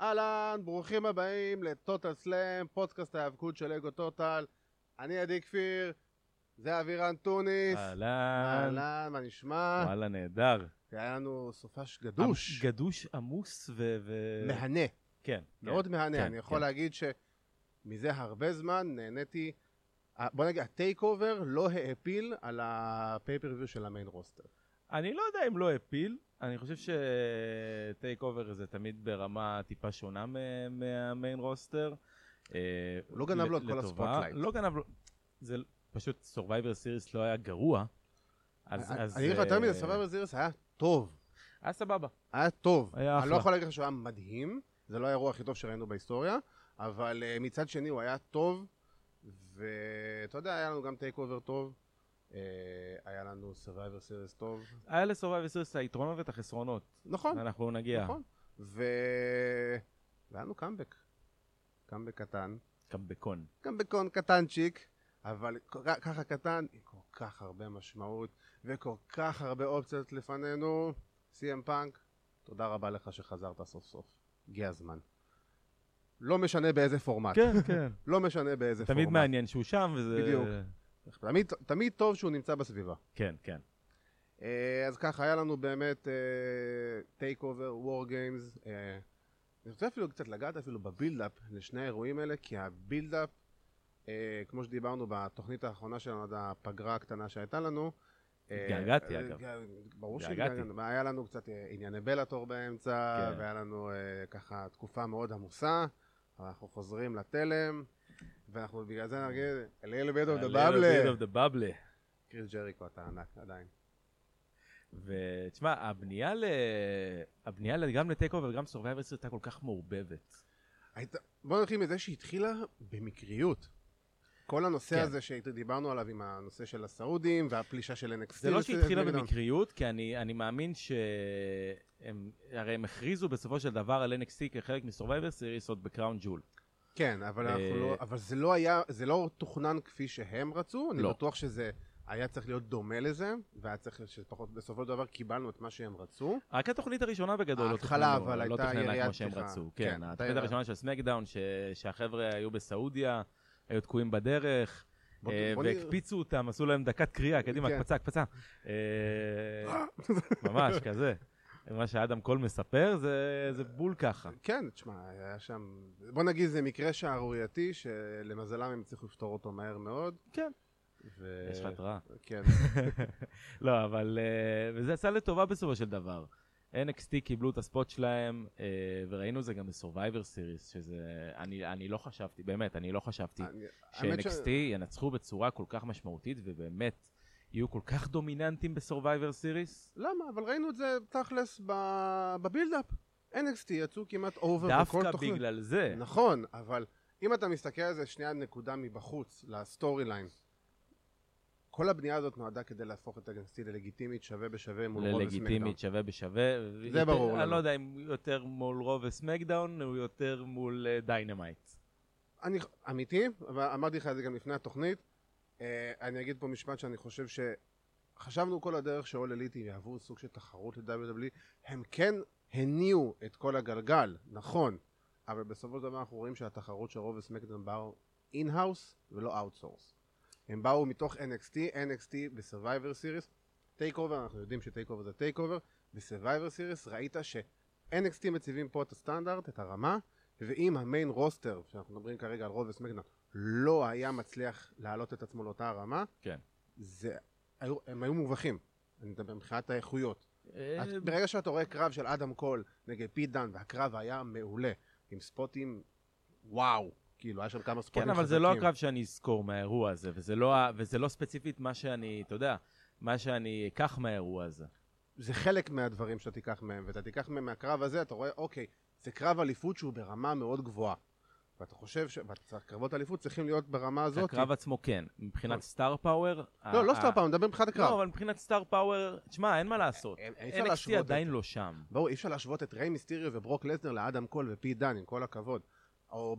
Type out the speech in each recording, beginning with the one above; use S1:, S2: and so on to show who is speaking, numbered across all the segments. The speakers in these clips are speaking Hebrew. S1: אהלן, ברוכים הבאים לטוטל סלאם, פודקאסט ההיאבקות של אגו טוטל. אני עדי כפיר, זה אבירן טוניס.
S2: אהלן,
S1: אהלן, מה נשמע?
S2: וואלה נהדר.
S1: היה לנו סופש גדוש,
S2: עמ- גדוש עמוס ו... ו-
S1: מהנה,
S2: כן.
S1: מאוד
S2: כן.
S1: מהנה. אני יכול
S2: כן.
S1: להגיד שמזה הרבה זמן נהניתי, אה, בוא נגיד, הטייק אובר לא העפיל על הפייפריוויו של המיין רוסטר.
S2: אני לא יודע אם לא הפיל, אני חושב שטייק אובר זה תמיד ברמה טיפה שונה מ- מהמיין רוסטר. אה,
S1: הוא לא גנב לו את
S2: ל-
S1: כל
S2: לטובה.
S1: הספוטלייט.
S2: לא גנב לו, זה פשוט סורווייבר סיריס לא היה גרוע. אז-
S1: אני
S2: אז,
S1: אני אגיד לך יותר
S2: אה,
S1: מזה, סבבה זירס היה טוב.
S2: היה סבבה.
S1: היה טוב.
S2: היה
S1: אני לא
S2: אחלה.
S1: יכול להגיד לך שהוא היה מדהים, זה לא האירוע הכי טוב שראינו בהיסטוריה, אבל אה, מצד שני הוא היה טוב, ואתה יודע, היה לנו גם טייק אובר טוב, אה, היה לנו סרווייבר סיריס טוב,
S2: היה לסורווייבר סיריס את היתרונות ואת החסרונות.
S1: נכון,
S2: אנחנו נגיע.
S1: נכון, ו... והיה לנו קאמבק, קאמבק קטן,
S2: קמבקון.
S1: קאמבקון קטנצ'יק, אבל כל כך- ככה קטן, עם כל כך הרבה משמעות, וכל כך הרבה אופציות לפנינו, סי.אם פאנק, תודה רבה לך שחזרת סוף סוף, הגיע הזמן. לא משנה באיזה פורמט,
S2: כן, כן.
S1: לא משנה באיזה
S2: תמיד
S1: פורמט.
S2: מעניין שהוא שם וזה...
S1: בדיוק. תמיד, תמיד טוב שהוא נמצא בסביבה.
S2: כן, כן.
S1: אה, אז ככה, היה לנו באמת אה, טייק אובר, וור גיימס. אה, אני רוצה אפילו קצת לגעת אפילו בבילדאפ לשני האירועים האלה, כי הבילדאפ, אה, כמו שדיברנו בתוכנית האחרונה שלנו, עד הפגרה הקטנה שהייתה לנו, אה,
S2: התגעגעתי,
S1: אה,
S2: אגב.
S1: ג- ברור
S2: התגעגעתי.
S1: שהתגעגענו, היה לנו קצת אה, ענייני בלאטור באמצע,
S2: כן.
S1: והיה לנו אה, ככה תקופה מאוד עמוסה, אבל אנחנו חוזרים לתלם, ואנחנו בגלל זה נגיד, a little bit of the
S2: A little
S1: bubble,
S2: bit of the bubble.
S1: קריס ג'ריקו אתה ענק עדיין.
S2: ותשמע, הבנייה, ל... הבנייה ל- גם לטייק אובר וגם סורווייבר סיריס הייתה כל כך מעורבבת.
S1: היית... בוא נתחיל מזה שהתחילה במקריות. כל הנושא
S2: כן.
S1: הזה שדיברנו עליו עם הנושא של הסעודים והפלישה של NXT.
S2: זה לא
S1: לסי-
S2: שהיא התחילה
S1: נגדם.
S2: במקריות, כי אני, אני מאמין שהם, הרי הם הכריזו בסופו של דבר על NXT כחלק מסורווייבר סיריס עוד בקראון ג'ול.
S1: כן, אבל,
S2: אה,
S1: אנחנו לא... אבל זה לא היה, זה לא תוכנן כפי שהם רצו, אני
S2: לא.
S1: בטוח שזה היה צריך להיות דומה לזה, והיה צריך שפחות, בסופו של דבר קיבלנו את מה שהם רצו.
S2: רק התוכנית הראשונה בגדול לא
S1: ההתחלה,
S2: תוכננו,
S1: אבל
S2: לא
S1: הייתה
S2: תוכננה
S1: יריית
S2: כמו שהם
S1: פתיחה.
S2: רצו.
S1: כן,
S2: כן,
S1: הייתה
S2: התוכנית
S1: יריית.
S2: הראשונה של סמקדאון, ש- שהחבר'ה היו בסעודיה, היו תקועים בדרך,
S1: בוא-
S2: אה,
S1: בוא נראה.
S2: והקפיצו אותם, עשו להם דקת קריאה, קדימה,
S1: כן.
S2: הקפצה, הקפצה. אה, ממש, כזה. מה שאדם קול מספר, זה זה בול ככה.
S1: כן, תשמע, היה שם... בוא נגיד זה מקרה שערורייתי, שלמזלם הם הצליחו לפתור אותו מהר מאוד.
S2: כן.
S1: ו...
S2: יש לך התראה.
S1: כן,
S2: לא, אבל... אה, וזה עשה לטובה בסופו של דבר. NXT קיבלו את הספוט שלהם, אה, וראינו זה גם בסורווייבר סיריס, שזה... אני אני לא חשבתי, באמת, אני לא חשבתי.
S1: אני- האמת ש-
S2: ש-NXT ינצחו בצורה כל כך משמעותית ובאמת יהיו כל כך דומיננטים בסורווייבר סיריס.
S1: למה? אבל ראינו את זה תכלס ב- בבילדאפ. NXT יצאו כמעט אובר בכל
S2: דווקא
S1: תוכנית.
S2: בגלל זה.
S1: נכון, אבל אם אתה מסתכל על זה שנייה נקודה מבחוץ, לסטורי ליין, כל הבנייה הזאת נועדה כדי להפוך את NXT ללגיטימית שווה בשווה מול רוב וסמקדאון.
S2: ללגיטימית שווה בשווה.
S1: זה
S2: יותר-
S1: ברור לנו.
S2: אני לא יודע אם יותר מול רו וסמקדאון או יותר מול אה, דיינמייט.
S1: אני אמיתי, אבל אמרתי לך את זה גם לפני התוכנית, אה, אני אגיד פה משפט שאני חושב ש... חשבנו כל הדרך שאול אליטי יהוו סוג של תחרות ל-WWE, הם כן הניעו את כל הגלגל, נכון, אבל בסופו של דבר אנחנו רואים שהתחרות של רוב וסמקדאון באו אין-האוס ולא אאוטסורס. הם באו מתוך NXT, NXT ב-Survivor Series, טייק אובר, אנחנו יודעים שטייק אובר זה טייק אובר, ב-Survivor Series ראית ש-NXT מציבים פה את הסטנדרט, את הרמה, ואם המיין רוסטר, שאנחנו מדברים כרגע על רוב וסמקדאון, לא היה מצליח להעלות את עצמו לאותה הרמה,
S2: כן.
S1: זה, היו, הם היו מובכים, אני מדבר מבחינת האיכויות.
S2: אה,
S1: את, ברגע שאתה רואה קרב של אדם קול נגד פיט דן, והקרב היה מעולה, עם ספוטים, וואו, כאילו, היה שם כמה ספוטים
S2: כן,
S1: חזקים.
S2: אבל זה לא הקרב שאני אזכור מהאירוע הזה, וזה לא ה- וזה לא ספציפית מה שאני, אתה יודע, מה שאני אקח מהאירוע הזה.
S1: זה חלק מהדברים שאתה תיקח מהם, ואתה תיקח מהם מהקרב הזה, אתה רואה, אוקיי, זה קרב אליפות שהוא ברמה מאוד גבוהה. ואתה חושב שקרבות אליפות צריכים להיות ברמה הזאת.
S2: הקרב עצמו כן, מבחינת סטאר פאוור.
S1: לא, לא סתם פעם, מדבר מבחינת הקרב.
S2: לא, אבל מבחינת סטאר פאוור, תשמע, אין מה לעשות.
S1: אין- אה, אי אפשר
S2: NXT
S1: להשוות את
S2: עדיין
S1: זה.
S2: לא שם.
S1: בואו, אי אפשר להשוות את ריי מיסטיריו וברוק לסנר לאדם קול ופי דן, עם כל הכבוד. או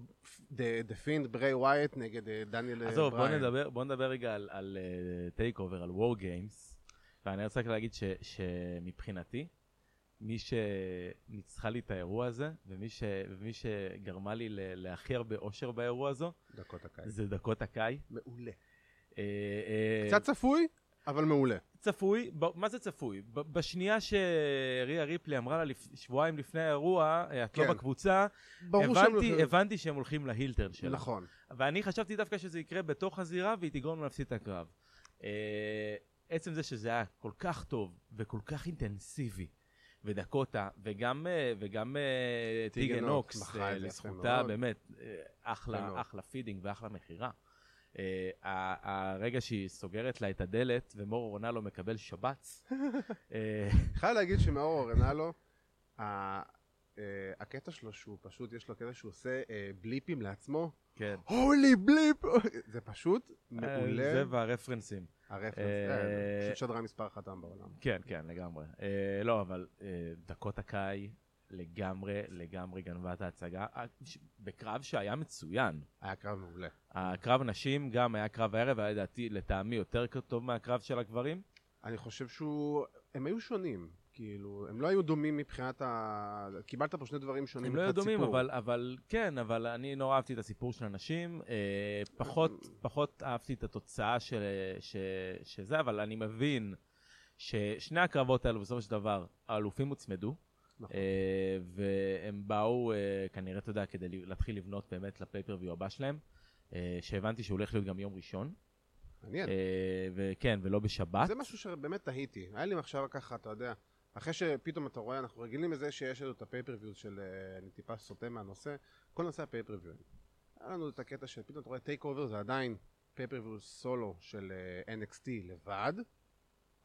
S1: דה דה פינד בריי ווייט נגד אה, דניאל אה,
S2: עזוב, בוא
S1: בריין.
S2: נדבר, בוא נדבר רגע על- על אה, טייק אובר, על וור גיימס. ואני רוצה רק להגיד ש- שמבחינתי, מי שניצחה לי את האירוע הזה, ומי, ש... ומי שגרמה לי ל... להכי הרבה אושר באירוע הזו,
S1: דקות הקיץ.
S2: זה דקות הקאי.
S1: מעולה.
S2: אה, אה,
S1: קצת צפוי, אבל מעולה.
S2: צפוי, ב... מה זה צפוי? ב... בשנייה שריה ריפלי אמרה לה לפ... שבועיים לפני האירוע, אה, את
S1: כן.
S2: לא בקבוצה,
S1: ברור שהם... לא-
S2: הבנתי, הבנתי שהם הולכים להילטרן שלה.
S1: נכון.
S2: ואני חשבתי דווקא שזה יקרה בתוך הזירה והיא תגרום לה להפסיד את הקרב. אה, עצם זה שזה היה כל כך טוב וכל כך אינטנסיבי, ודקוטה, וגם, אה, וגם אה,
S1: טיגן
S2: טיגן
S1: נוקס
S2: נוקס,
S1: מכרה
S2: אה,
S1: את זה יפה
S2: לזכותה,
S1: מאוד.
S2: באמת, אה,
S1: מאוד.
S2: אחלה, אחלה פידינג ואחלה מכירה. אה, ה- הרגע שהיא סוגרת לה את הדלת ומורו רונלו מקבל שבץ, אה,
S1: חייב להגיד שמאור אורנלו, ה- אה, הקטע שלו שהוא פשוט, יש לו קטע שהוא עושה אה, בליפים לעצמו.
S2: כן.
S1: הולי בליפ! זה פשוט
S2: אה,
S1: מעולה.
S2: זה והרפרנסים.
S1: הרפרנס,
S2: אה,
S1: אה, פשוט שדרה מספר אחת היום בעולם.
S2: כן, כן, לגמרי. אה, לא, אבל אה, דקות הקאי לגמרי, לגמרי גנבה את ההצגה. אה, ש- בקרב שהיה מצוין.
S1: היה קרב מעולה.
S2: הקרב נשים גם היה קרב הערב, היה לדעתי, לטעמי, יותר טוב מהקרב של הגברים.
S1: אני חושב שהוא... הם היו שונים. כאילו, הם לא היו דומים מבחינת ה... קיבלת פה שני דברים שונים
S2: הם לא היו
S1: מבחינת
S2: דומים,
S1: סיפור.
S2: אבל, אבל כן, אבל אני נורא אהבתי את הסיפור של הנשים. אה, פחות, פחות אהבתי את התוצאה של, ש, שזה, אבל אני מבין ששני הקרבות האלו, בסופו של דבר, האלופים הוצמדו.
S1: נכון.
S2: אה, והם באו אה, כנראה, אתה יודע, כדי ל- להתחיל לבנות באמת לפייפריוויו הבא שלהם, אה, שהבנתי שהוא הולך להיות גם יום ראשון,
S1: מעניין.
S2: אה, וכן, ולא בשבת.
S1: כן. זה משהו שבאמת תהיתי. היה לי מחשבה ככה, אתה יודע, אחרי שפתאום אתה רואה, אנחנו רגילים לזה שיש לנו את הפייפריוויוז של, אה, אני טיפה סוטה מהנושא, כל נושא הפייפריוויוז. היה לנו את הקטע שפתאום אתה רואה טייק אובר זה עדיין פייפריוויוז סולו של אה, NXT לבד,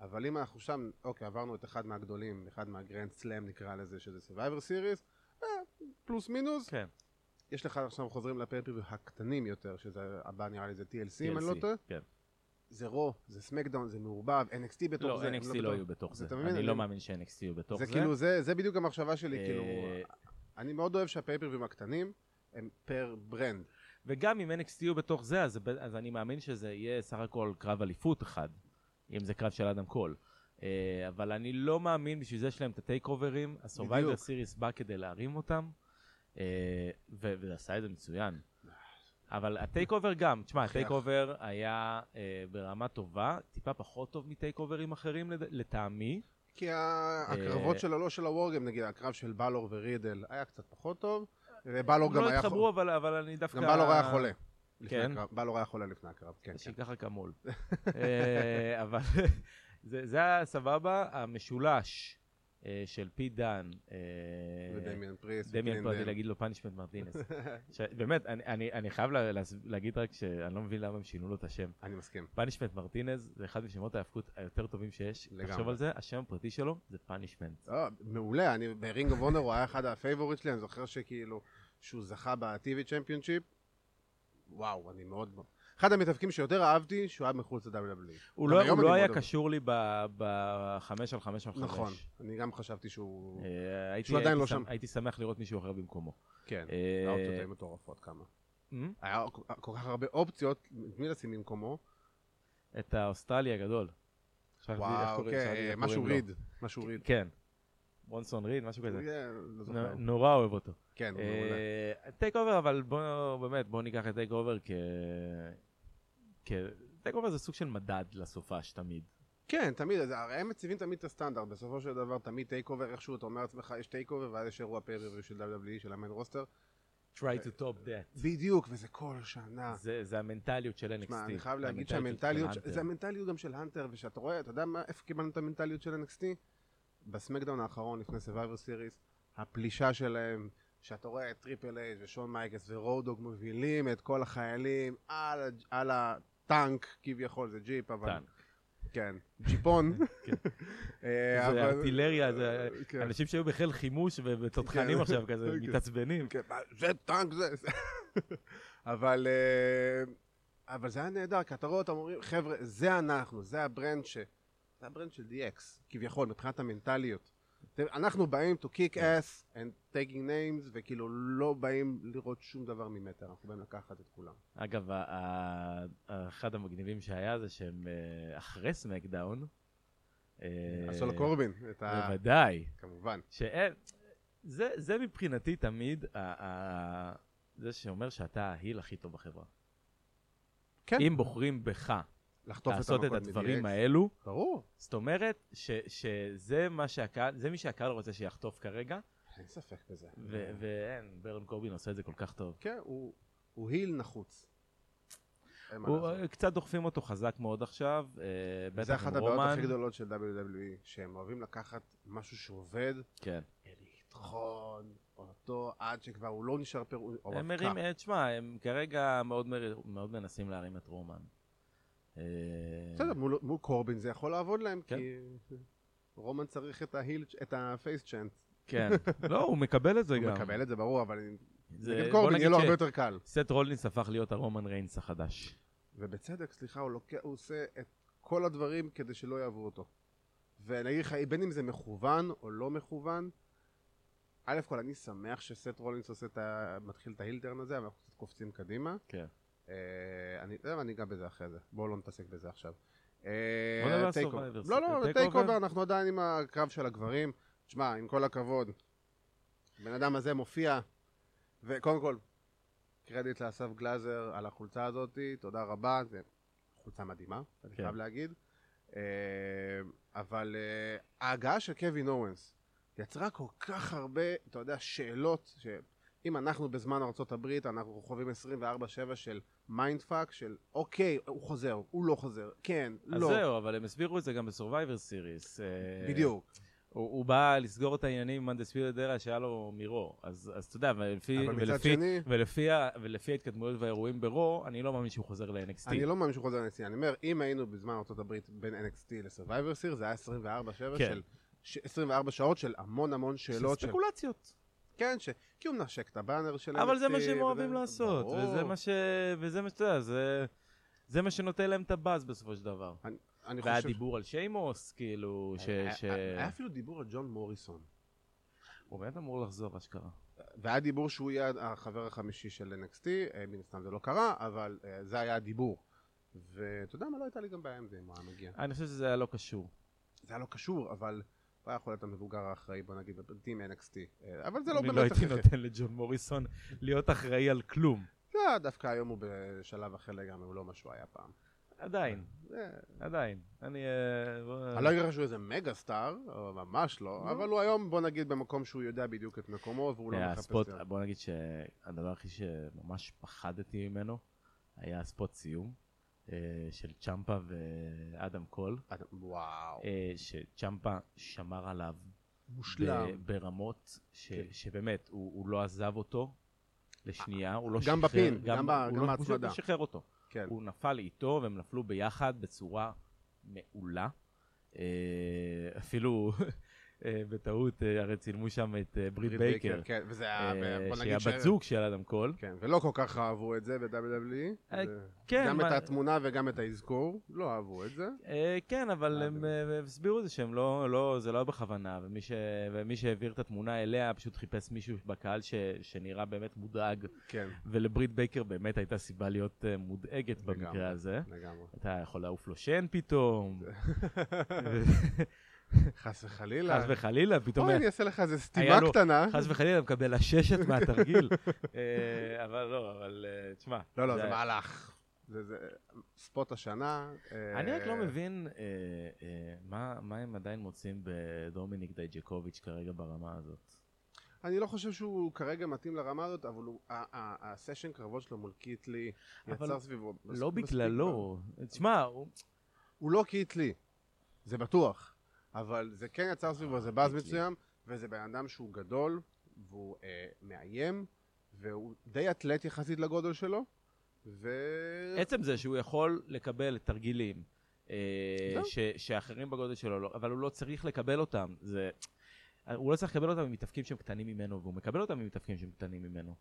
S1: אבל אם אנחנו שם, אוקיי, עברנו את אחד מהגדולים, אחד מהגרנד סלאם נקרא לזה, שזה Survivor Series, אה, פלוס מינוס,
S2: כן,
S1: יש לך עכשיו חוזרים לפייפריוויוז הקטנים יותר, שזה הבא נראה לי זה TLC אם אני לא
S2: TLC,
S1: טועה.
S2: כן.
S1: זה רו, זה סמקדאון, זה מעורבב, NXT בתוך
S2: לא,
S1: זה. הם
S2: NXT לא
S1: בתוך-
S2: יהיו בתוך
S1: זה,
S2: זה.
S1: אתה מבין?
S2: אני
S1: אני-
S2: לא מאמין ש-NXT יהיו בתוך זה.
S1: זה כאילו, זה, זה בדיוק המחשבה שלי,
S2: אה,
S1: כאילו, אני מאוד אוהב שהפייפריווים הקטנים הם פר ברנד.
S2: וגם אם NXT יהיו בתוך זה, אז, אז אני מאמין שזה יהיה סך הכל קרב אליפות אחד, אם זה קרב של אדם קול. אה, אבל אני לא מאמין, בשביל זה יש להם את הטייק אוברים,
S1: בדיוק.
S2: הסורווייבר סיריס בא כדי להרים אותם, אה, ו- ועשה את זה מצוין. אבל הטייק אובר גם, תשמע,
S1: אחי,
S2: הטייק
S1: אח.
S2: אובר היה אה, ברמה טובה, טיפה פחות טוב מטייק אוברים אחרים לד- לטעמי.
S1: כי
S2: אה,
S1: ה- הקרבות שלו, לא של הוורגים, נגיד, הקרב של בלור ורידל היה קצת פחות טוב, ובלור גם
S2: לא
S1: היה
S2: התחברו,
S1: חולה.
S2: אבל, אבל אני דווקא...
S1: גם בלור היה חולה. לפני
S2: כן?
S1: הקרב. בלור היה חולה לפני הקרב, כן, כן.
S2: שייקח רק המו"ל. אה, אבל זה זה היה סבבה, המשולש אה, של פי דן, אה,
S1: ודמיאן פריס.
S2: דמיאן
S1: וקלינדל.
S2: פה, להגיד לו פאנישמנט מרטינס. ש- באמת, אני- אני אני חייב לה- להס- להגיד רק שאני לא מבין למה הם שינו לו את השם.
S1: אני מסכים.
S2: פאנישמנט מרטינז זה אחד משמות ההאבקות היותר טובים שיש.
S1: לגמרי.
S2: תחשוב על זה, השם הפרטי שלו זה פאנישמנט.
S1: אה, מעולה, אני ברינג אוף אונר הוא היה אחד הפייבוריט שלי, אני זוכר שכאילו, שהוא זכה ב-TV צ'מפיונשיפ, וואו, אני מאוד... אחד המתאבקים שיותר אהבתי, שהוא היה מחוץ E. ל-WWE.
S2: הוא
S1: גם
S2: לא-
S1: היום
S2: הוא
S1: אני
S2: לא
S1: מאוד
S2: היה
S1: אוהב.
S2: קשור לי ב- בחמש על חמש על חמש.
S1: נכון, אני גם חשבתי שהוא...
S2: אה, הייתי-
S1: שהוא עדיין
S2: הייתי
S1: לא
S2: שמ-
S1: שם.
S2: הייתי שמח לראות מישהו אחר במקומו.
S1: כן,
S2: אה,
S1: היה אופציות היו מטורפות כמה.
S2: מ?
S1: היה כל- כל כך הרבה אופציות, את מי לשים במקומו?
S2: את האוסטרלי הגדול. שכחתי איך
S1: וואו,
S2: קוראים- שכחתי
S1: כן,
S2: איך
S1: משהו
S2: קוראים לו.
S1: ריד, משהו ריד.
S2: כן. רונסון ריד, משהו כזה.
S1: אה, לא
S2: נ-
S1: זוכר.
S2: נורא אוהב אותו.
S1: כן, הוא מעולה.
S2: אה, טייק אובר, אבל בואו באמת, בואו ניקח את טייק אובר כ... כ... טייק אובר זה סוג של מדד לסופש תמיד.
S1: כן, תמיד, אז הרי הם מציבים תמיד את הסטנדרט, בסופו של דבר תמיד טייק אובר, איכשהו אתה אומר לעצמך, יש טייק אובר, ואז יש אירוע פייפריוויו של WWE, של המיין רוסטר.
S2: try to top
S1: אה.
S2: that.
S1: בדיוק, וזה כל שנה.
S2: זה, זה המנטליות של NXT.
S1: תשמע, אני חייב להגיד
S2: המנטליות
S1: שהמנטליות,
S2: של
S1: ש-
S2: האנטר.
S1: זה המנטליות גם של האנטר, ושאתה רואה, אתה יודע מה- איפה קיבלנו את המנטליות של NXT? בסמקדאון האחרון, לפני Survivor Series, הפלישה שלהם, שאתה רואה את טריפל אייג' ושון מייקס ורודוג מובילים את כל החיילים על ה- על הטנק, כביכול, זה ג'יפ, אבל...
S2: טנק.
S1: כן, ג'יפון.
S2: כן.
S1: אה,
S2: זה
S1: אבל-
S2: ארטילריה, זה-
S1: כן.
S2: אנשים שהיו בחיל חימוש
S1: כן.
S2: ובתותחנים עכשיו כזה,
S1: כן.
S2: מתעצבנים.
S1: כן, מה, זה טנק זה. זה. אבל, אה, אבל זה היה נהדר, כי אתה רואה אותם אומרים, חבר'ה, זה אנחנו, זה הברנד ש... זה הברנד של DX, כביכול, מבחינת המנטליות. אתם- אנחנו באים to kick
S2: כן.
S1: ass and taking names, וכאילו לא באים לראות שום דבר ממטר, אנחנו באים לקחת את כולם.
S2: אגב, ה- ה- אחד המגניבים שהיה זה שהם אה, אחרי סמקדאון, אה,
S1: עשו אה. לקורבין, את ה...
S2: בוודאי.
S1: כמובן.
S2: שאין... זה, זה מבחינתי תמיד ה, ה, זה שאומר שאתה ההיל הכי טוב בחברה.
S1: כן.
S2: אם בוחרים בך
S1: לחטוף
S2: לעשות את
S1: המכות
S2: הדברים
S1: מ-DX.
S2: האלו,
S1: ברור,
S2: זאת אומרת ש, שזה מה שהקהל, זה מי שהקהל רוצה שיחטוף כרגע,
S1: אין ספק בזה.
S2: ו- ואין, ברן קורבין עושה את זה כל כך טוב.
S1: כן, הוא- הוא היל נחוץ. אין מה
S2: הוא,
S1: לעשות.
S2: אה, קצת דוחפים אותו חזק מאוד עכשיו, אה,
S1: זה
S2: בטח
S1: אחת
S2: עם
S1: הבעיות
S2: רומן.
S1: הכי גדולות של WWE, שהם אוהבים לקחת משהו שעובד,
S2: כן.
S1: לטחון אותו עד שכבר הוא לא נשאר פירוט, או
S2: הם
S1: אבקה.
S2: מרים, אה, תשמע, הם כרגע מאוד מר- מאוד מנסים להרים את רומן. אה,
S1: בסדר, מול מול קורבין זה יכול לעבוד להם,
S2: כן.
S1: כי רומן צריך את ההיל, את הפייס צ'אנט.
S2: כן. לא, הוא מקבל את זה
S1: הוא
S2: גם.
S1: מקבל את זה, ברור, אבל
S2: זה-
S1: נגד
S2: בוא
S1: קורבין יהיה לו
S2: נגיד
S1: הרבה יותר קל.
S2: סט רולינס הפך להיות הרומן ריינס החדש.
S1: ובצדק, סליחה, הוא, לוקח, הוא עושה את כל הדברים כדי שלא יאהבו אותו. ואני אגיד לך, בין אם זה מכוון או לא מכוון, א' כל אני שמח שסט רולינס עושה את ה... מתחיל את ההילטרן הזה, אבל אנחנו קצת קופצים קדימה.
S2: כן.
S1: אה, אני, אה, אני אגע בזה אחרי זה, בואו לא נתעסק בזה עכשיו. אה,
S2: בוא נדבר על
S1: טייק אובר.
S2: Survivor Series.
S1: לא, לא,
S2: על
S1: טייק
S2: Takeover?
S1: אובר, אנחנו עדיין עם הקרב של הגברים. תשמע, עם כל הכבוד, הבן אדם הזה מופיע, וקודם כל, קרדיט לאסף גלאזר על החולצה הזאת, תודה רבה, זו חולצה מדהימה, אני
S2: כן.
S1: חייב להגיד. אה, אבל אה, ההגעה של קווין אורנס יצרה כל כך הרבה, אתה יודע, שאלות, שאם אנחנו בזמן ארה"ב, אנחנו חווים 24-7 של מיינד פאק, של אוקיי, הוא חוזר, הוא לא חוזר, כן,
S2: אז
S1: לא,
S2: זהו, אבל הם הסבירו את זה גם בסורווייבר סיריס. אה,
S1: בדיוק.
S2: הוא הוא בא לסגור את העניינים עם אנדספירד ארה שהיה לו מרו. אז אז אתה יודע, ולפי-
S1: אבל מצד
S2: ולפי-
S1: שני-
S2: ולפי ה- ולפי ההתקדמויות והאירועים ברו, אני לא מאמין שהוא חוזר ל-NXT.
S1: אני לא מאמין שהוא חוזר ל-NXT, אני אומר, אם היינו בזמן ארה"ב בין NXT ל-Survivor Series, זה היה 24-7
S2: כן.
S1: של... ש- 24 שעות של המון המון שאלות של...
S2: ספקולציות.
S1: כן, ש... כי הוא מנשק את הבאנר של NXT.
S2: אבל זה מה שהם
S1: וזה-
S2: אוהבים לעשות,
S1: ברור.
S2: וזה מה ש... וזה מה שאתה יודע, זה... זה מה שנותן להם את הבאז בסופו של דבר.
S1: אני
S2: והיה
S1: חושב... אה,
S2: דיבור על שיימוס, כאילו, ש...
S1: היה-
S2: ש-
S1: היה אפילו דיבור על ג'ון מוריסון.
S2: הוא באמת אמור לחזור, אשכרה.
S1: והיה דיבור שהוא יהיה החבר החמישי של NXT, אה, מן הסתם זה לא קרה, אבל אה, זה היה הדיבור. ואתה יודע מה, לא הייתה לי גם בעיה עם זה אם הוא היה מגיע.
S2: אני חושב שזה היה לא קשור.
S1: זה היה לא קשור, אבל הוא היה יכול להיות המבוגר האחראי, בוא נגיד, בפרטים NXT. אה, אבל זה לא
S2: אני
S1: באמת...
S2: לא הייתי
S1: הכרחי.
S2: נותן לג'ון מוריסון להיות אחראי על כלום.
S1: לא, דווקא היום הוא בשלב אחר לגמרי, הוא לא מה שהוא היה פעם.
S2: עדיין,
S1: זה-
S2: עדיין. אני... אה, בוא-
S1: אני לא אגיד לך שהוא איזה מגה סטאר, או ממש לא, אבל הוא היום, בוא נגיד, במקום שהוא יודע בדיוק את מקומו, והוא לא
S2: היה
S1: מחפש...
S2: אה, הספוט,
S1: דרך.
S2: בוא נגיד שהדבר הכי שממש פחדתי ממנו היה הספוט סיום אה, של צ'מפה ואדם קול,
S1: אדם- וואו,
S2: אה, שצ'מפה שמר עליו
S1: מושלם.
S2: ב- ברמות ש-
S1: כן.
S2: שבאמת, הוא הוא לא עזב אותו לשנייה, הוא לא
S1: גם
S2: שחרר.
S1: בפין, גם ב-
S2: הוא
S1: גם
S2: לא- הוא
S1: בהצמדה.
S2: לא שחרר אותו.
S1: כן,
S2: הוא נפל איתו והם נפלו ביחד בצורה מעולה. אה, אפילו אה, בטעות אה, הרי צילמו שם את אה, ברית בייקר,
S1: כן, וזה
S2: אה,
S1: היה, בוא
S2: שהיא
S1: נגיד ש...
S2: הבת זוג של אדם קול.
S1: כן, ולא כל כך אהבו את זה ב-WWE.
S2: אה,
S1: זה-
S2: כן,
S1: גם את
S2: מה-
S1: התמונה וגם את האזכור, לא אהבו את זה.
S2: אה, כן, אבל
S1: אה,
S2: הם אה, הסבירו את זה שהם לא, לא, זה לא היה בכוונה, ומי, ש, ומי שהעביר את התמונה אליה פשוט חיפש מישהו בקהל ש, שנראה באמת מודאג,
S1: כן,
S2: ולברית בייקר באמת הייתה סיבה להיות אה, מודאגת
S1: לגמרי.
S2: במקרה הזה.
S1: לגמרי.
S2: אתה יכול לעוף לו שן פתאום,
S1: חס וחלילה.
S2: חס וחלילה, פתאום...
S1: אוי, אני אעשה לך איזה
S2: היה
S1: סתימה
S2: לו-
S1: קטנה.
S2: חס וחלילה מקבל הששת מהתרגיל. אה, אבל לא, אבל אה, תשמע.
S1: לא, לא, זה מהלך. זה זה- ספוט השנה. אה,
S2: אני רק לא מבין אה, אה, מה- מה הם עדיין מוצאים בדומיניק דייג'קוביץ' כרגע ברמה הזאת.
S1: אני לא חושב שהוא כרגע מתאים לרמה הזאת, אבל הוא- ה- ה- הסשן קרבות שלו מול קיטלי
S2: אבל
S1: יצר סביבו. מס-
S2: לא
S1: מספיק כבר.
S2: בגללו. תשמע, הוא-
S1: הוא לא קיטלי, זה בטוח. אבל זה כן יצר סביבו, זה באז
S2: קיטלי.
S1: מסוים, וזה בן אדם שהוא גדול, והוא אה, מאיים, והוא די אתלט יחסית לגודל שלו, ו...
S2: עצם זה שהוא יכול לקבל תרגילים אה,
S1: זהו.
S2: ש- שאחרים בגודל שלו לא, אבל הוא לא צריך לקבל אותם. זה- הוא לא צריך לקבל אותם ממתאפקים שהם קטנים ממנו, והוא מקבל אותם ממתאפקים שהם קטנים ממנו.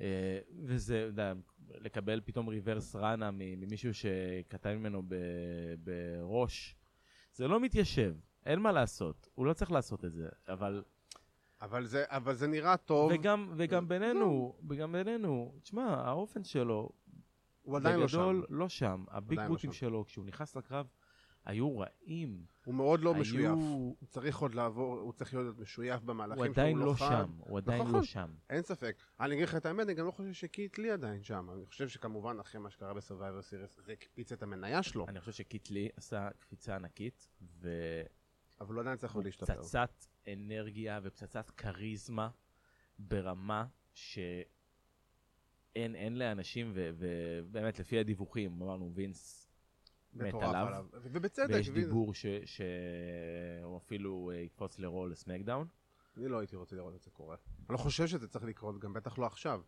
S2: אה, וזה, אתה יודע, לקבל פתאום ריברס ראנה מ- ממישהו שקטן ממנו ב- בראש, זה לא מתיישב, אין מה לעשות, הוא לא צריך לעשות את זה, אבל...
S1: אבל זה, אבל זה נראה טוב, אה, לא.
S2: וגם, וגם בינינו, וגם בינינו, תשמע, האופן שלו
S1: הוא עדיין לא שם.
S2: בגדול, לא שם. הביג
S1: עדיין לא
S2: בוטים
S1: שם.
S2: שלו, כשהוא נכנס לקרב, היו רעים.
S1: הוא מאוד לא
S2: היו-
S1: משויף. הוא צריך עוד לעבור, הוא צריך להיות משויף במהלכים
S2: הוא
S1: שהוא
S2: עדיין לא
S1: חד.
S2: שם, הוא עדיין
S1: נכון.
S2: לא שם.
S1: אין ספק. אני אגיד לך את האמת, אני גם לא חושב שקיט לי עדיין שם. אני חושב שכמובן, אחרי מה שקרה בסרווייבר סיריס, זה הקפיץ את המניה שלו,
S2: אני חושב שקיטלי עשה קפיצה ענקית, והוא
S1: אבל הוא עדיין צריך עוד להשתפר.
S2: פצצת אנרגיה ופצצת כריזמה ברמה שאין אין לאנשים, ו- ובאמת לפי הדיווחים, אמרנו וינס מת
S1: מטורף
S2: עליו.
S1: עליו. ו- ובצדק,
S2: ויש
S1: והנה,
S2: דיבור ש- שהוא אפילו אה, יקפוץ לרול לסמקדאון.
S1: אני לא הייתי רוצה לראות את זה קורה. אני לא חושב שזה צריך לקרות, גם בטח לא עכשיו.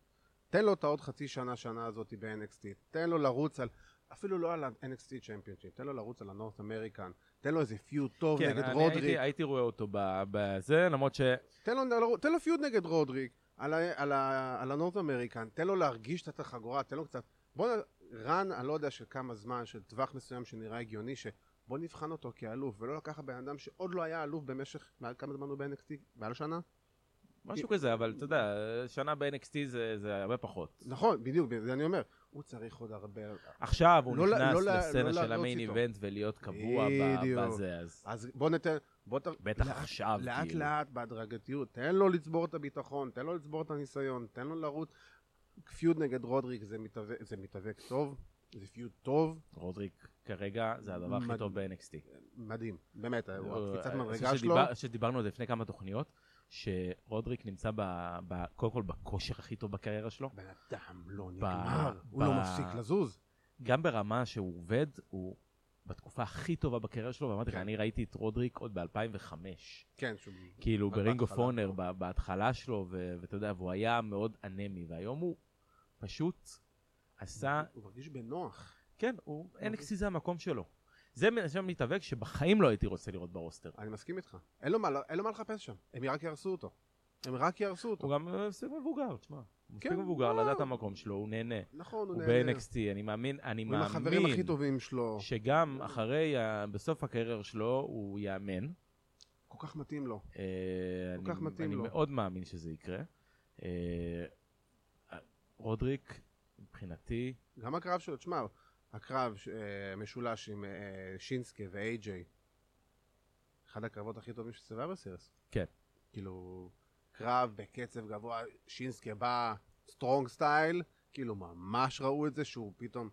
S1: תן לו את העוד חצי שנה, שנה הזאת ב-NXT, תן לו לרוץ על, אפילו לא על ה-NXT צ'מפיונשיפ, תן לו לרוץ על הנורת אמריקן, תן לו איזה פיוט טוב
S2: כן,
S1: נגד
S2: אני
S1: רודריק,
S2: הייתי- הייתי רואה אותו ב- בזה, למרות ש...
S1: תן לו, תן לו פיוד נגד רודריק, על, ה- על, ה- על הנורת אמריקן, תן לו להרגיש את החגורה, תן לו קצת... בוא נ... רן, אני לא יודע של כמה זמן, של טווח מסוים שנראה הגיוני, שבוא נבחן אותו כאלוף, ולא לקחת בן אדם שעוד לא היה אלוף במשך, מעל כמה זמן הוא ב-NXT? מעל שנה?
S2: משהו כזה, אבל אתה יודע, שנה ב-NXT זה, זה הרבה פחות.
S1: נכון, בדיוק, זה אני אומר. הוא צריך עוד הרבה...
S2: עכשיו הוא
S1: לא ל-
S2: נכנס
S1: לא ל-
S2: לסצנה
S1: לא
S2: של
S1: להרוס
S2: המיין
S1: איתו.
S2: איבנט ולהיות קבוע ב-
S1: בדיוק.
S2: בזה, אז
S1: אז בוא ניתן... בוא ת...
S2: בטח
S1: לאט-
S2: עכשיו,
S1: לאט
S2: כאילו.
S1: לאט, בהדרגתיות, תן לו לצבור את הביטחון, תן לו לצבור את הניסיון, תן לו לרוץ. פיוד נגד רודריק זה מתאבק- זה מתאבק טוב, זה פיוד טוב,
S2: רודריק כרגע זה הדבר הכי
S1: מד-
S2: טוב ב-NXT.
S1: מדהים, באמת, הוא
S2: הוא-
S1: הקפיצת
S2: אה, אני
S1: מדרגה
S2: חושב
S1: שלו,
S2: לא, שדיבר- שדיברנו על זה לפני כמה תוכניות, שרודריק נמצא ב- ב- קודם כל בכושר הכי טוב בקריירה שלו,
S1: בן אדם לא נגמר, הוא
S2: ב-
S1: לא מפסיק לזוז.
S2: גם ברמה שהוא עובד, הוא בתקופה הכי טובה בקריירה שלו, ואמרתי לך,
S1: כן.
S2: אני ראיתי את רודריק עוד ב-2005.
S1: כן, שהוא...
S2: כאילו
S1: אבל
S2: ברינג אוף
S1: בהתחלה. לא.
S2: אונר, ב- בהתחלה שלו, ו- ואתה יודע, והוא היה מאוד אנמי, והיום הוא פשוט עשה,
S1: הוא מרגיש בנוח.
S2: כן, הוא, NXT זה המקום שלו. זה מ- שם מתאבק שבחיים לא הייתי רוצה לראות ברוסטר.
S1: אני מסכים איתך. אין לו מה אין לו מה לחפש שם, הם רק יהרסו אותו. הם רק יהרסו אותו.
S2: הוא גם אה, מספיק מבוגר, תשמע. הוא מספיק
S1: כן,
S2: מבוגר
S1: וואו.
S2: לדעת את המקום שלו, הוא נהנה.
S1: נכון, הוא
S2: הוא
S1: נהנה.
S2: ב-NXT, אני מאמין, אני
S1: הוא עם החברים הכי
S2: מאמין
S1: טובים כן. שלו.
S2: שגם אחרי, ה- בסוף הקריירה שלו, הוא יאמן.
S1: כל כך מתאים לו.
S2: אה,
S1: כל
S2: אני-
S1: כך מתאים
S2: אני
S1: לו.
S2: מאוד מאמין שזה יקרה. אה, רודריק, מבחינתי,
S1: גם הקרב שלו, תשמע, הקרב אה, משולש עם אה, שינסקי ואיי-ג'יי, אחד הקרבות הכי טובים של סבבה סירס.
S2: כן.
S1: כאילו, קרב בקצב גבוה, שינסקי בא סטרונג סטייל, כאילו ממש ראו את זה שהוא פתאום